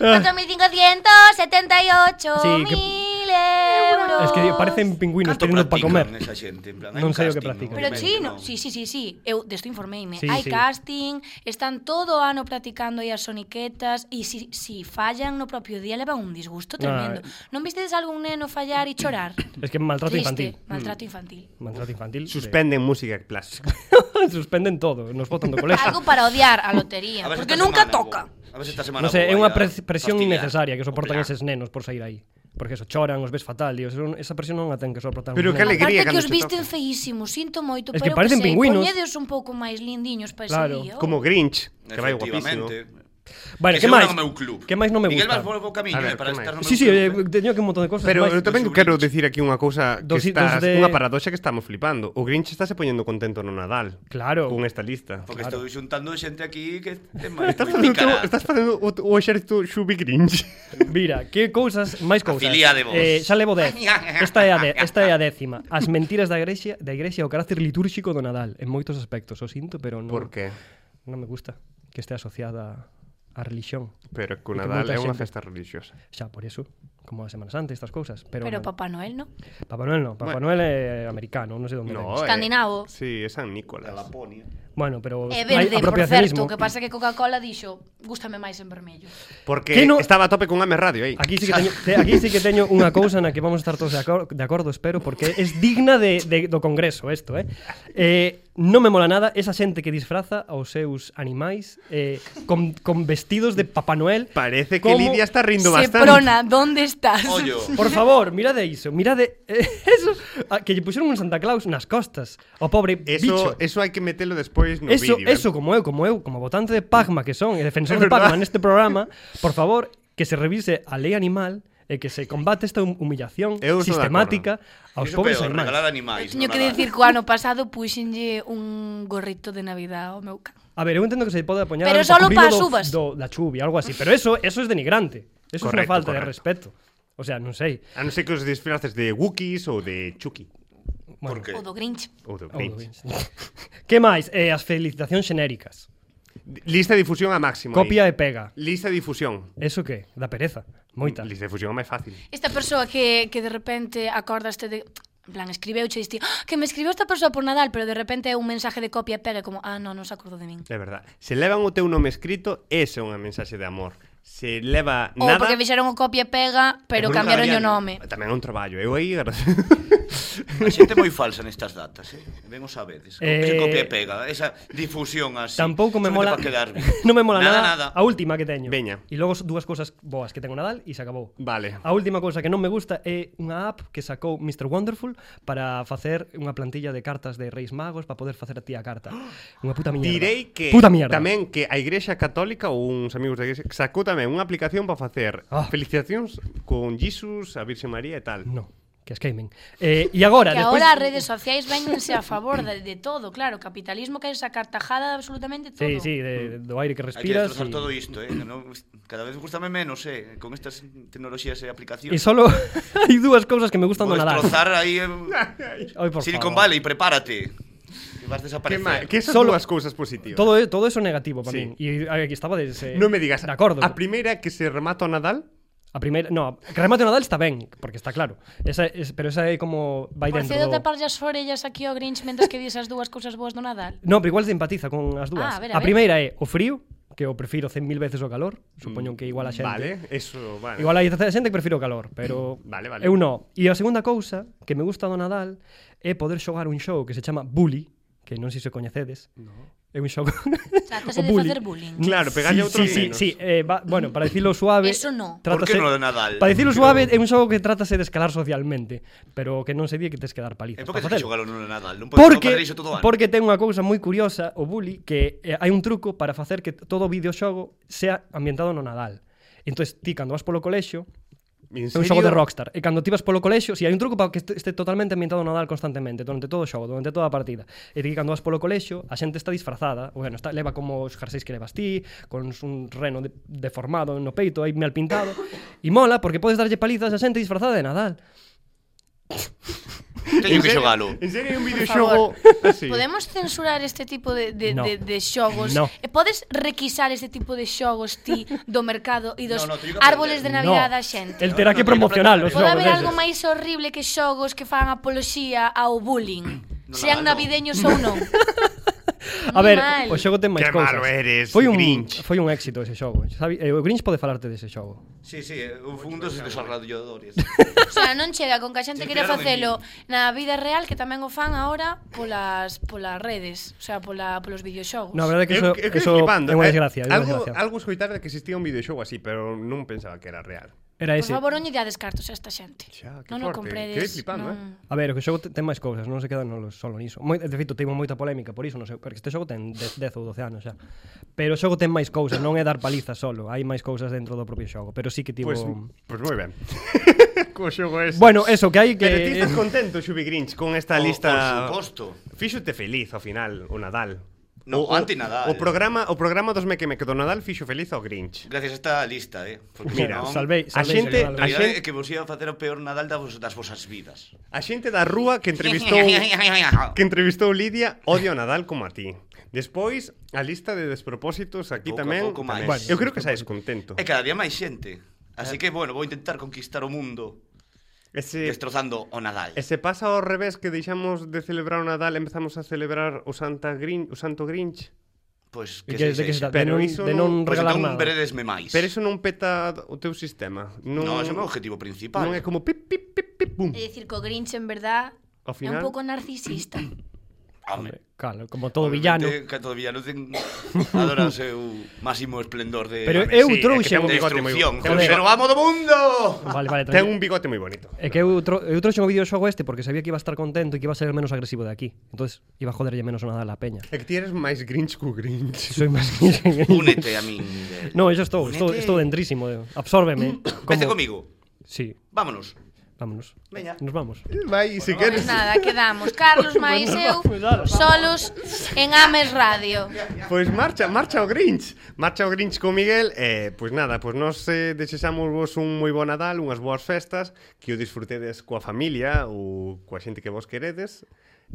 [SPEAKER 3] Ah.
[SPEAKER 2] 4.578
[SPEAKER 3] Sí, que-
[SPEAKER 2] mil euros.
[SPEAKER 3] Es que parecen pingüinos pidiendo para comer.
[SPEAKER 4] Esa xente, en plan, hai
[SPEAKER 3] Non
[SPEAKER 4] un
[SPEAKER 3] sei o que
[SPEAKER 4] casting,
[SPEAKER 3] practican.
[SPEAKER 2] Pero
[SPEAKER 4] Obviamente
[SPEAKER 2] chino,
[SPEAKER 4] non.
[SPEAKER 2] sí, sí, sí, sí, eu desto informeime.
[SPEAKER 3] Sí,
[SPEAKER 2] Hai
[SPEAKER 3] sí.
[SPEAKER 2] casting, están todo o ano practicando aí as soniquetas e si, si fallan no propio día levan un disgusto tremendo. Non vistedes algún neno fallar e chorar?
[SPEAKER 3] Es que Ah. maltrato
[SPEAKER 2] Triste,
[SPEAKER 3] infantil.
[SPEAKER 2] Maltrato
[SPEAKER 4] Mm.
[SPEAKER 2] infantil.
[SPEAKER 3] Maltrato infantil. de-
[SPEAKER 1] Suspenden música clásica.
[SPEAKER 3] Suspenden todo, nos botan do colegio.
[SPEAKER 2] Algo para odiar a lotería,
[SPEAKER 4] A ver se
[SPEAKER 2] porque
[SPEAKER 4] esta
[SPEAKER 2] nunca
[SPEAKER 4] semana
[SPEAKER 2] toca.
[SPEAKER 4] vou- A ver se esta semana
[SPEAKER 3] Non sei, é
[SPEAKER 4] vou
[SPEAKER 3] unha
[SPEAKER 4] aí a
[SPEAKER 3] pres- presión
[SPEAKER 4] fastidiar.
[SPEAKER 3] innecesaria que soportan
[SPEAKER 4] Operar.
[SPEAKER 3] eses nenos por sair aí. Porque eso, choran, os ves fatal, e eso, esa presión non a ten que soportar.
[SPEAKER 1] Pero que alegría
[SPEAKER 2] Aparte que os visten feísimos, sinto moito,
[SPEAKER 3] Es que
[SPEAKER 2] pero eu
[SPEAKER 3] parecen
[SPEAKER 2] sei,
[SPEAKER 3] pingüinos.
[SPEAKER 2] Poñedeos un pouco máis lindiños para ese día. oh.
[SPEAKER 1] Como Grinch, que vai guapísimo.
[SPEAKER 4] Efectivamente.
[SPEAKER 3] Vale,
[SPEAKER 4] Que se
[SPEAKER 3] que
[SPEAKER 4] unan
[SPEAKER 3] máis?
[SPEAKER 4] ao meu club.
[SPEAKER 3] Que máis non me
[SPEAKER 4] Miguel
[SPEAKER 3] gusta?
[SPEAKER 4] vas por o camiño,
[SPEAKER 1] A
[SPEAKER 4] eh,
[SPEAKER 1] ver,
[SPEAKER 4] para
[SPEAKER 1] que máis?
[SPEAKER 4] estar no meu
[SPEAKER 3] Sí, sí,
[SPEAKER 4] club.
[SPEAKER 3] eh, teño aquí un montón de cosas.
[SPEAKER 1] Pero
[SPEAKER 3] máis-
[SPEAKER 1] eu tamén quero dicir aquí unha cousa que
[SPEAKER 3] Dos- dos
[SPEAKER 1] estás,
[SPEAKER 3] de-
[SPEAKER 1] unha paradoxa que estamos flipando. O Grinch está se poñendo contento no Nadal.
[SPEAKER 3] Claro.
[SPEAKER 1] Con esta lista.
[SPEAKER 4] Porque estou xuntando xente aquí que ten máis
[SPEAKER 1] Estás
[SPEAKER 4] moi
[SPEAKER 1] facendo,
[SPEAKER 4] cara.
[SPEAKER 1] teu- estás facendo o, o exército Shubi Grinch.
[SPEAKER 3] Mira, que cousas, máis cousas.
[SPEAKER 4] Afiliádevos.
[SPEAKER 3] Eh, xa levo 10. Esta é a de, esta é a décima. As mentiras da Igrexa, da Igrexa e o carácter litúrxico do Nadal en moitos aspectos, o sinto, pero non.
[SPEAKER 1] Por qué?
[SPEAKER 3] Non me gusta que este asociada a religión.
[SPEAKER 1] Pero que o
[SPEAKER 3] E
[SPEAKER 1] Nadal é
[SPEAKER 3] moita
[SPEAKER 1] unha
[SPEAKER 3] xente-
[SPEAKER 1] festa religiosa.
[SPEAKER 3] Xa, por eso, como a Semana Santa, e estas cousas, pero,
[SPEAKER 2] Pero
[SPEAKER 3] non.
[SPEAKER 2] Papá Noel, non?
[SPEAKER 3] Papá Noel non, Papá Noel é americano, non sei onde.
[SPEAKER 1] No,
[SPEAKER 3] ven.
[SPEAKER 1] Eh,
[SPEAKER 2] Escandinavo.
[SPEAKER 1] sí, é San Nicolás.
[SPEAKER 3] Bueno, pero
[SPEAKER 2] É
[SPEAKER 3] hai
[SPEAKER 2] verde, por certo,
[SPEAKER 3] apropiacionismo.
[SPEAKER 2] o que pasa é que Coca-Cola dixo, gústame máis en vermello.
[SPEAKER 1] Porque
[SPEAKER 3] Que no-
[SPEAKER 1] estaba a tope con Ame Radio eh. aí.
[SPEAKER 3] Aquí sí que teño, te, aquí sí que teño unha cousa na que vamos a estar todos de, acor de acordo, espero, porque es digna de, de, do Congreso isto, eh? eh non me mola nada esa xente que disfraza aos seus animais eh, con, con vestidos de Papá Noel.
[SPEAKER 1] Parece que Lidia está rindo
[SPEAKER 2] Se
[SPEAKER 1] bastante.
[SPEAKER 2] prona, ¿dónde estás?
[SPEAKER 3] Por favor, mirade iso, mirade eh, eso, a, que lle puxeron un Santa Claus nas costas. O pobre bicho.
[SPEAKER 1] Eso, eso hai que metelo despois no
[SPEAKER 3] eso,
[SPEAKER 1] vídeo. eh.
[SPEAKER 3] eso como eu, como eu, como votante de Pagma que son, e defensor
[SPEAKER 1] É
[SPEAKER 3] de Pagma
[SPEAKER 1] verdad.
[SPEAKER 3] neste programa, por favor, que se revise a lei animal e que se combate esta hum- humillación
[SPEAKER 1] Eu sou de
[SPEAKER 3] sistemática aos
[SPEAKER 4] Iso
[SPEAKER 3] pobres
[SPEAKER 4] peor,
[SPEAKER 3] animais.
[SPEAKER 4] regalar animais.
[SPEAKER 2] Teño
[SPEAKER 4] no
[SPEAKER 2] que
[SPEAKER 4] Nadal.
[SPEAKER 2] dicir que o ano pasado puxenlle un gorrito de Navidad ao meu can.
[SPEAKER 3] A ver, eu entendo que se pode apoñar
[SPEAKER 2] Pero
[SPEAKER 3] ao
[SPEAKER 2] solo
[SPEAKER 3] cubrido
[SPEAKER 2] para as
[SPEAKER 3] do-
[SPEAKER 2] uvas.
[SPEAKER 3] do, da chuvia, algo así, pero eso eso es denigrante. Eso es
[SPEAKER 1] Correcto,
[SPEAKER 3] una falta de
[SPEAKER 1] correcto.
[SPEAKER 3] respeto. O sea, non sei.
[SPEAKER 1] A non ser que os disfraces de Wookiees ou de Chucky.
[SPEAKER 3] Bueno,
[SPEAKER 2] O
[SPEAKER 3] Oh,
[SPEAKER 2] do Grinch.
[SPEAKER 1] Ou do
[SPEAKER 3] Ou do
[SPEAKER 1] Grinch.
[SPEAKER 3] que máis? Eh, as felicitacións xenéricas.
[SPEAKER 1] Lista de difusión a máximo.
[SPEAKER 3] Copia
[SPEAKER 1] aí.
[SPEAKER 3] e pega.
[SPEAKER 1] Lista de difusión.
[SPEAKER 3] Eso que? Da pereza. Moita.
[SPEAKER 1] Lista de difusión é máis fácil.
[SPEAKER 2] Esta persoa que, que de repente acordaste de... En plan, escribeu che diste, "Ah, que me escribiu esta persoa por Nadal, pero de repente é un mensaje de copia e pega como, ah, non, non se acordou de min.
[SPEAKER 1] É verdad. Se levan o teu nome escrito, esa é unha mensaxe de amor. Se leva
[SPEAKER 2] Ou
[SPEAKER 1] nada...
[SPEAKER 2] Oh, porque fixeron o copia e pega, pero
[SPEAKER 1] Nunca
[SPEAKER 2] cambiaron o
[SPEAKER 1] habían-
[SPEAKER 2] nome.
[SPEAKER 1] Tamén é un traballo. Eu aí...
[SPEAKER 4] A xente moi falsa nestas datas, eh. Vemos a veces. Eh...
[SPEAKER 3] Eh,
[SPEAKER 4] copia e pega, esa difusión así.
[SPEAKER 3] Tampouco me
[SPEAKER 4] Solamente
[SPEAKER 3] mola.
[SPEAKER 4] pa quedar bien.
[SPEAKER 3] non me mola nada,
[SPEAKER 4] nada,
[SPEAKER 3] a última que teño.
[SPEAKER 1] Veña.
[SPEAKER 3] E logo dúas cousas boas que ten o Nadal e se acabou.
[SPEAKER 1] Vale.
[SPEAKER 3] A última cousa que non me gusta é unha app que sacou Mr. Wonderful para facer unha plantilla de cartas de Reis Magos para poder facer a ti a carta. Unha puta mierda.
[SPEAKER 1] Direi que
[SPEAKER 3] Puta mierda.
[SPEAKER 1] tamén que a Igrexa Católica ou uns amigos da Igrexa sacou tamén unha aplicación para facer
[SPEAKER 3] Ah.
[SPEAKER 1] felicitacións con Jesus, a Virxe María e tal.
[SPEAKER 3] No, que escamen. Eh, e agora,
[SPEAKER 2] que
[SPEAKER 3] despois...
[SPEAKER 2] agora as redes sociais vénganse a favor de, de todo, claro, capitalismo que hai esa cartajada absolutamente todo.
[SPEAKER 3] Sí, sí, de, do aire que
[SPEAKER 4] Hai que
[SPEAKER 3] respiras.
[SPEAKER 4] destrozar todo isto, eh. No, cada vez gustame menos, eh, con estas tecnoloxías e aplicacións.
[SPEAKER 3] E solo hai dúas cousas que me gustan do
[SPEAKER 4] Vou
[SPEAKER 3] Nadal.
[SPEAKER 4] destrozar aí eh,
[SPEAKER 3] Ay, por
[SPEAKER 4] Silicon
[SPEAKER 3] favor.
[SPEAKER 4] Valley, prepárate. Que vas a
[SPEAKER 1] Que, ma...
[SPEAKER 4] desaparecer.
[SPEAKER 1] que esas
[SPEAKER 3] Solo-
[SPEAKER 1] dúas cousas positivas.
[SPEAKER 3] Todo, e-, todo eso negativo para
[SPEAKER 1] Sí.
[SPEAKER 3] min. E aquí estaba desde...
[SPEAKER 1] Non me digas.
[SPEAKER 3] Eh, De acordo.
[SPEAKER 1] A primeira que se remata o Nadal,
[SPEAKER 3] A primeira, no, que remate o Nadal está ben, porque está claro. Esa es, pero esa é como vai
[SPEAKER 2] Por
[SPEAKER 3] dentro
[SPEAKER 2] cedo
[SPEAKER 3] do...
[SPEAKER 2] taparlle as orellas aquí ao Grinch mentres que dis as dúas cousas boas do Nadal.
[SPEAKER 3] No, pero igual te empatiza con as dúas.
[SPEAKER 2] Ah, a ver, a ver.
[SPEAKER 3] primeira é o frío, que eu prefiro 100.000 veces o calor. Supoño que igual a xente...
[SPEAKER 1] vale, eso, vale.
[SPEAKER 3] Igual hai certa xente que prefiro o calor, pero
[SPEAKER 1] Vale, vale.
[SPEAKER 3] eu no. E a segunda cousa que me gusta do Nadal é poder xogar un xogo que se chama Bully, que non sei se o coñecedes. No. É un xogo...
[SPEAKER 2] Trátase
[SPEAKER 3] O
[SPEAKER 2] de
[SPEAKER 3] bullying.
[SPEAKER 2] facer bullying.
[SPEAKER 1] Claro, pegarlle a outros
[SPEAKER 3] sí, sí,
[SPEAKER 1] nenos.
[SPEAKER 3] sí, eh, va, bueno, para dicirlo suave...
[SPEAKER 2] Eso no.
[SPEAKER 4] Por que
[SPEAKER 3] trátase-
[SPEAKER 4] non o de Nadal?
[SPEAKER 3] Para dicirlo
[SPEAKER 4] Pero-
[SPEAKER 3] suave, é un xogo que trátase de escalar socialmente, pero que non se di que tes que dar
[SPEAKER 4] E Eh,
[SPEAKER 3] palizas.
[SPEAKER 4] por que
[SPEAKER 3] pa
[SPEAKER 4] tens que
[SPEAKER 3] facelo.
[SPEAKER 4] xogar non é Nadal? Non podes
[SPEAKER 3] Porque,
[SPEAKER 4] xogar iso todo o ano.
[SPEAKER 3] porque ten unha cousa moi curiosa o bully que eh, hai un truco para facer que todo o videoxogo sea ambientado no Nadal. Entonces, ti cando vas polo colexio,
[SPEAKER 1] En
[SPEAKER 3] é un xogo
[SPEAKER 1] serio?
[SPEAKER 3] de Rockstar, e cando ti vas polo colexio, si hai un truco para que este- este totalmente ambientado no Nadal constantemente, durante todo o xogo, durante toda a partida. E ti cando vas polo colexio, a xente está disfrazada, o bueno, está leva como os jerseis que levas ti, con un reno de, deformado no peito, aí mal pintado, e mola porque podes darlle palizas a xente disfrazada de Nadal.
[SPEAKER 4] Teño
[SPEAKER 1] En
[SPEAKER 4] que
[SPEAKER 1] serio-
[SPEAKER 4] xogalo.
[SPEAKER 1] En serio, hai un
[SPEAKER 2] Por
[SPEAKER 1] videoxogo así.
[SPEAKER 2] Podemos censurar este tipo de, de,
[SPEAKER 3] No.
[SPEAKER 2] de, de xogos?
[SPEAKER 3] No.
[SPEAKER 2] E podes requisar este tipo de xogos ti do mercado e dos
[SPEAKER 4] No, no, teño que
[SPEAKER 2] árboles de
[SPEAKER 4] aprender.
[SPEAKER 2] Navidad
[SPEAKER 3] No.
[SPEAKER 2] da xente?
[SPEAKER 3] El terá
[SPEAKER 4] no,
[SPEAKER 3] que
[SPEAKER 4] no,
[SPEAKER 3] promocionar os
[SPEAKER 4] no, no,
[SPEAKER 2] Pode
[SPEAKER 3] xogos.
[SPEAKER 2] haber
[SPEAKER 3] eses.
[SPEAKER 2] algo máis horrible que xogos que fan apoloxía ao bullying?
[SPEAKER 4] No, Nadal, no.
[SPEAKER 2] Sean navideños ou non?
[SPEAKER 3] A ver,
[SPEAKER 2] Mal.
[SPEAKER 3] o xogo ten máis
[SPEAKER 1] Que
[SPEAKER 3] cousas.
[SPEAKER 1] malo eres,
[SPEAKER 3] foi un
[SPEAKER 1] Grinch.
[SPEAKER 3] foi un éxito ese xogo. Sabi, eh, o Grinch pode falarte dese xogo.
[SPEAKER 4] Sí, sí, eh, un fundo se desarrolladores.
[SPEAKER 2] O sea, non chega con que a xente
[SPEAKER 4] Se
[SPEAKER 2] quere
[SPEAKER 4] inspiraron en
[SPEAKER 2] facelo na vida real que tamén o fan agora polas polas redes, o sea, pola polos videoxogos.
[SPEAKER 3] No, a verdade é que eso,
[SPEAKER 1] Eu- eu quedei
[SPEAKER 3] eso é
[SPEAKER 1] flipando,
[SPEAKER 3] unha
[SPEAKER 1] eh.
[SPEAKER 3] desgracia, é unha
[SPEAKER 1] algo,
[SPEAKER 3] desgracia.
[SPEAKER 1] algo escoitar de que existía un videoxogo así, pero non pensaba que era real.
[SPEAKER 3] Era
[SPEAKER 2] Por
[SPEAKER 3] ese.
[SPEAKER 2] favor, non lle dades cartos a esta xente.
[SPEAKER 1] Xa,
[SPEAKER 2] non o compredes. non.
[SPEAKER 4] eh.
[SPEAKER 3] A ver, o que o xogo te- ten máis cousas, non se quedan no- solo niso. Moi, de feito, tivo moita polémica por iso, non sei, porque este xogo ten de- 10 ou 12 anos xa. Pero o xogo ten máis cousas, non é dar paliza solo, hai máis cousas dentro do propio xogo, pero sí que tivo
[SPEAKER 1] Pois pues moi ben. Co xogo ese.
[SPEAKER 3] Bueno, eso, que hai que-
[SPEAKER 1] Pero ti estás contento, Xubi Grinch, con
[SPEAKER 4] O-
[SPEAKER 1] esta lista.
[SPEAKER 4] Oh, por suposto.
[SPEAKER 1] Fíxote feliz ao final o Nadal.
[SPEAKER 4] No,
[SPEAKER 1] o, o-
[SPEAKER 4] anti-Nadal.
[SPEAKER 1] O programa, o programa dos Meque Meque do Nadal fixo feliz ao Grinch.
[SPEAKER 4] Gracias a esta lista, eh. Porque
[SPEAKER 1] Mira,
[SPEAKER 4] senón-
[SPEAKER 1] salvei- A salvei, xente-
[SPEAKER 4] En
[SPEAKER 1] a
[SPEAKER 4] realidad é
[SPEAKER 1] xente-
[SPEAKER 4] que vos ia facer o peor Nadal da vos, das vosas vidas.
[SPEAKER 1] A xente da rúa que entrevistou que entrevistou Lidia odia o Nadal como a ti. Despois, a lista de despropósitos aquí
[SPEAKER 4] Pouco a
[SPEAKER 1] tamén.
[SPEAKER 4] pouco máis.
[SPEAKER 1] tamén. eu creo que saes contento.
[SPEAKER 4] É cada día máis xente. Así que, bueno, vou intentar conquistar o mundo
[SPEAKER 1] Ese
[SPEAKER 4] destrozando o Nadal.
[SPEAKER 1] E se pasa ao revés que deixamos de celebrar o Nadal, empezamos a celebrar o Santa Grin, o Santo Grinch.
[SPEAKER 4] Pois
[SPEAKER 3] que Que- de que se trata? De non-
[SPEAKER 1] iso
[SPEAKER 3] de non
[SPEAKER 4] Pois regalar entón nada. veredesme máis.
[SPEAKER 1] Pero iso non peta o teu sistema. Non,
[SPEAKER 4] No, ese é o meu objetivo principal.
[SPEAKER 1] Non é como pip, pip,
[SPEAKER 2] É dicir, co Grinch, en verdad,
[SPEAKER 1] Ao
[SPEAKER 2] é un
[SPEAKER 1] final-
[SPEAKER 2] pouco narcisista.
[SPEAKER 4] Home,
[SPEAKER 3] claro, como todo villano.
[SPEAKER 4] Que todo villano ten adora o seu máximo esplendor de
[SPEAKER 3] Pero
[SPEAKER 4] Home,
[SPEAKER 3] eu
[SPEAKER 4] sí, é que
[SPEAKER 3] trouxe
[SPEAKER 4] ten un
[SPEAKER 3] un-
[SPEAKER 4] bigote moi
[SPEAKER 3] Destrucción,
[SPEAKER 4] bo.
[SPEAKER 3] joder.
[SPEAKER 4] Pero amo do mundo.
[SPEAKER 3] Vale, vale,
[SPEAKER 1] Ten
[SPEAKER 3] tranquilo.
[SPEAKER 1] un bigote moi bonito.
[SPEAKER 3] É que eu, tro, eu trouxe o videoxogo este porque sabía que iba a estar contento e que iba a ser el menos agresivo de aquí. Entonces, iba a joderlle menos o Nadal a peña.
[SPEAKER 1] É que ti eres máis Grinch que o Grinch.
[SPEAKER 3] Soy máis Grinch que Grinch. Únete a min, Miguel. No, yo estou- estou- estou dentrísimo, eh. Absórbeme,
[SPEAKER 4] Vete
[SPEAKER 3] como-
[SPEAKER 4] comigo.
[SPEAKER 3] Sí.
[SPEAKER 4] Vámonos.
[SPEAKER 3] Vámonos.
[SPEAKER 4] Veña.
[SPEAKER 3] Nos vamos.
[SPEAKER 1] Vai, si
[SPEAKER 2] Pois nada, quedamos. Carlos
[SPEAKER 1] Pois
[SPEAKER 2] máis eu, solos, en Ames Radio.
[SPEAKER 1] Pois marcha, marcha o Grinch Marcha o Grinch con Miguel E, eh, pois nada, pois nos eh, desexamos vos un moi bo Nadal Unhas boas festas Que o disfrutedes coa familia Ou coa xente que vos queredes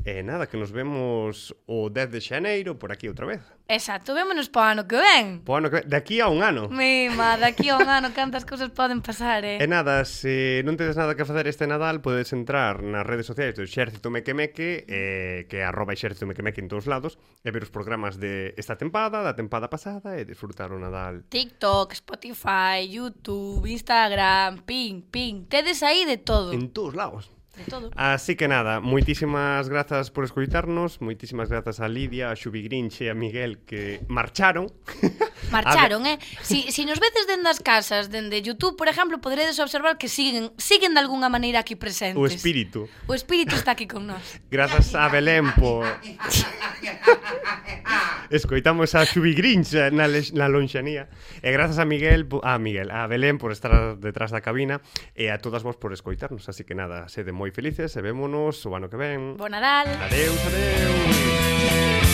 [SPEAKER 1] E eh, nada, que nos vemos o 10 de xaneiro Por aquí outra vez
[SPEAKER 2] Exacto, vémonos pa o ano que ven.
[SPEAKER 1] po ano que... De aquí a un ano
[SPEAKER 2] Mima, daqui a un ano cantas cousas poden pasar, eh?
[SPEAKER 1] E nada, se non tedes nada que facer este Nadal Podes entrar nas redes sociais do Exército Mequemeque eh, Que é arroba Exército Mequemeque en todos lados E ver os programas de esta tempada Da tempada pasada E disfrutar o Nadal
[SPEAKER 2] TikTok, Spotify, YouTube, Instagram, ping, ping. Tedes aí de todo.
[SPEAKER 1] En todos lados.
[SPEAKER 2] De todo.
[SPEAKER 1] Así que nada, moitísimas grazas por escoitarnos, moitísimas grazas a Lidia, a Xubi Grinche e a Miguel que marcharon.
[SPEAKER 2] Marcharon, eh? Si, si nos veces dende as casas, dende YouTube, por exemplo, poderedes observar que siguen siguen de algunha maneira aquí presentes.
[SPEAKER 1] O espírito.
[SPEAKER 2] O espírito está aquí con nós.
[SPEAKER 1] Grazas a Belén por... Escoitamos a Xubi Grinche na, lex- na lonxanía. E grazas a Miguel, po- a Miguel, a Belén por estar detrás da cabina e a todas vos por escoitarnos. Así que nada, sede moi felices e vémonos o ano que ven.
[SPEAKER 2] Bo Nadal.
[SPEAKER 1] Adeus, adeus.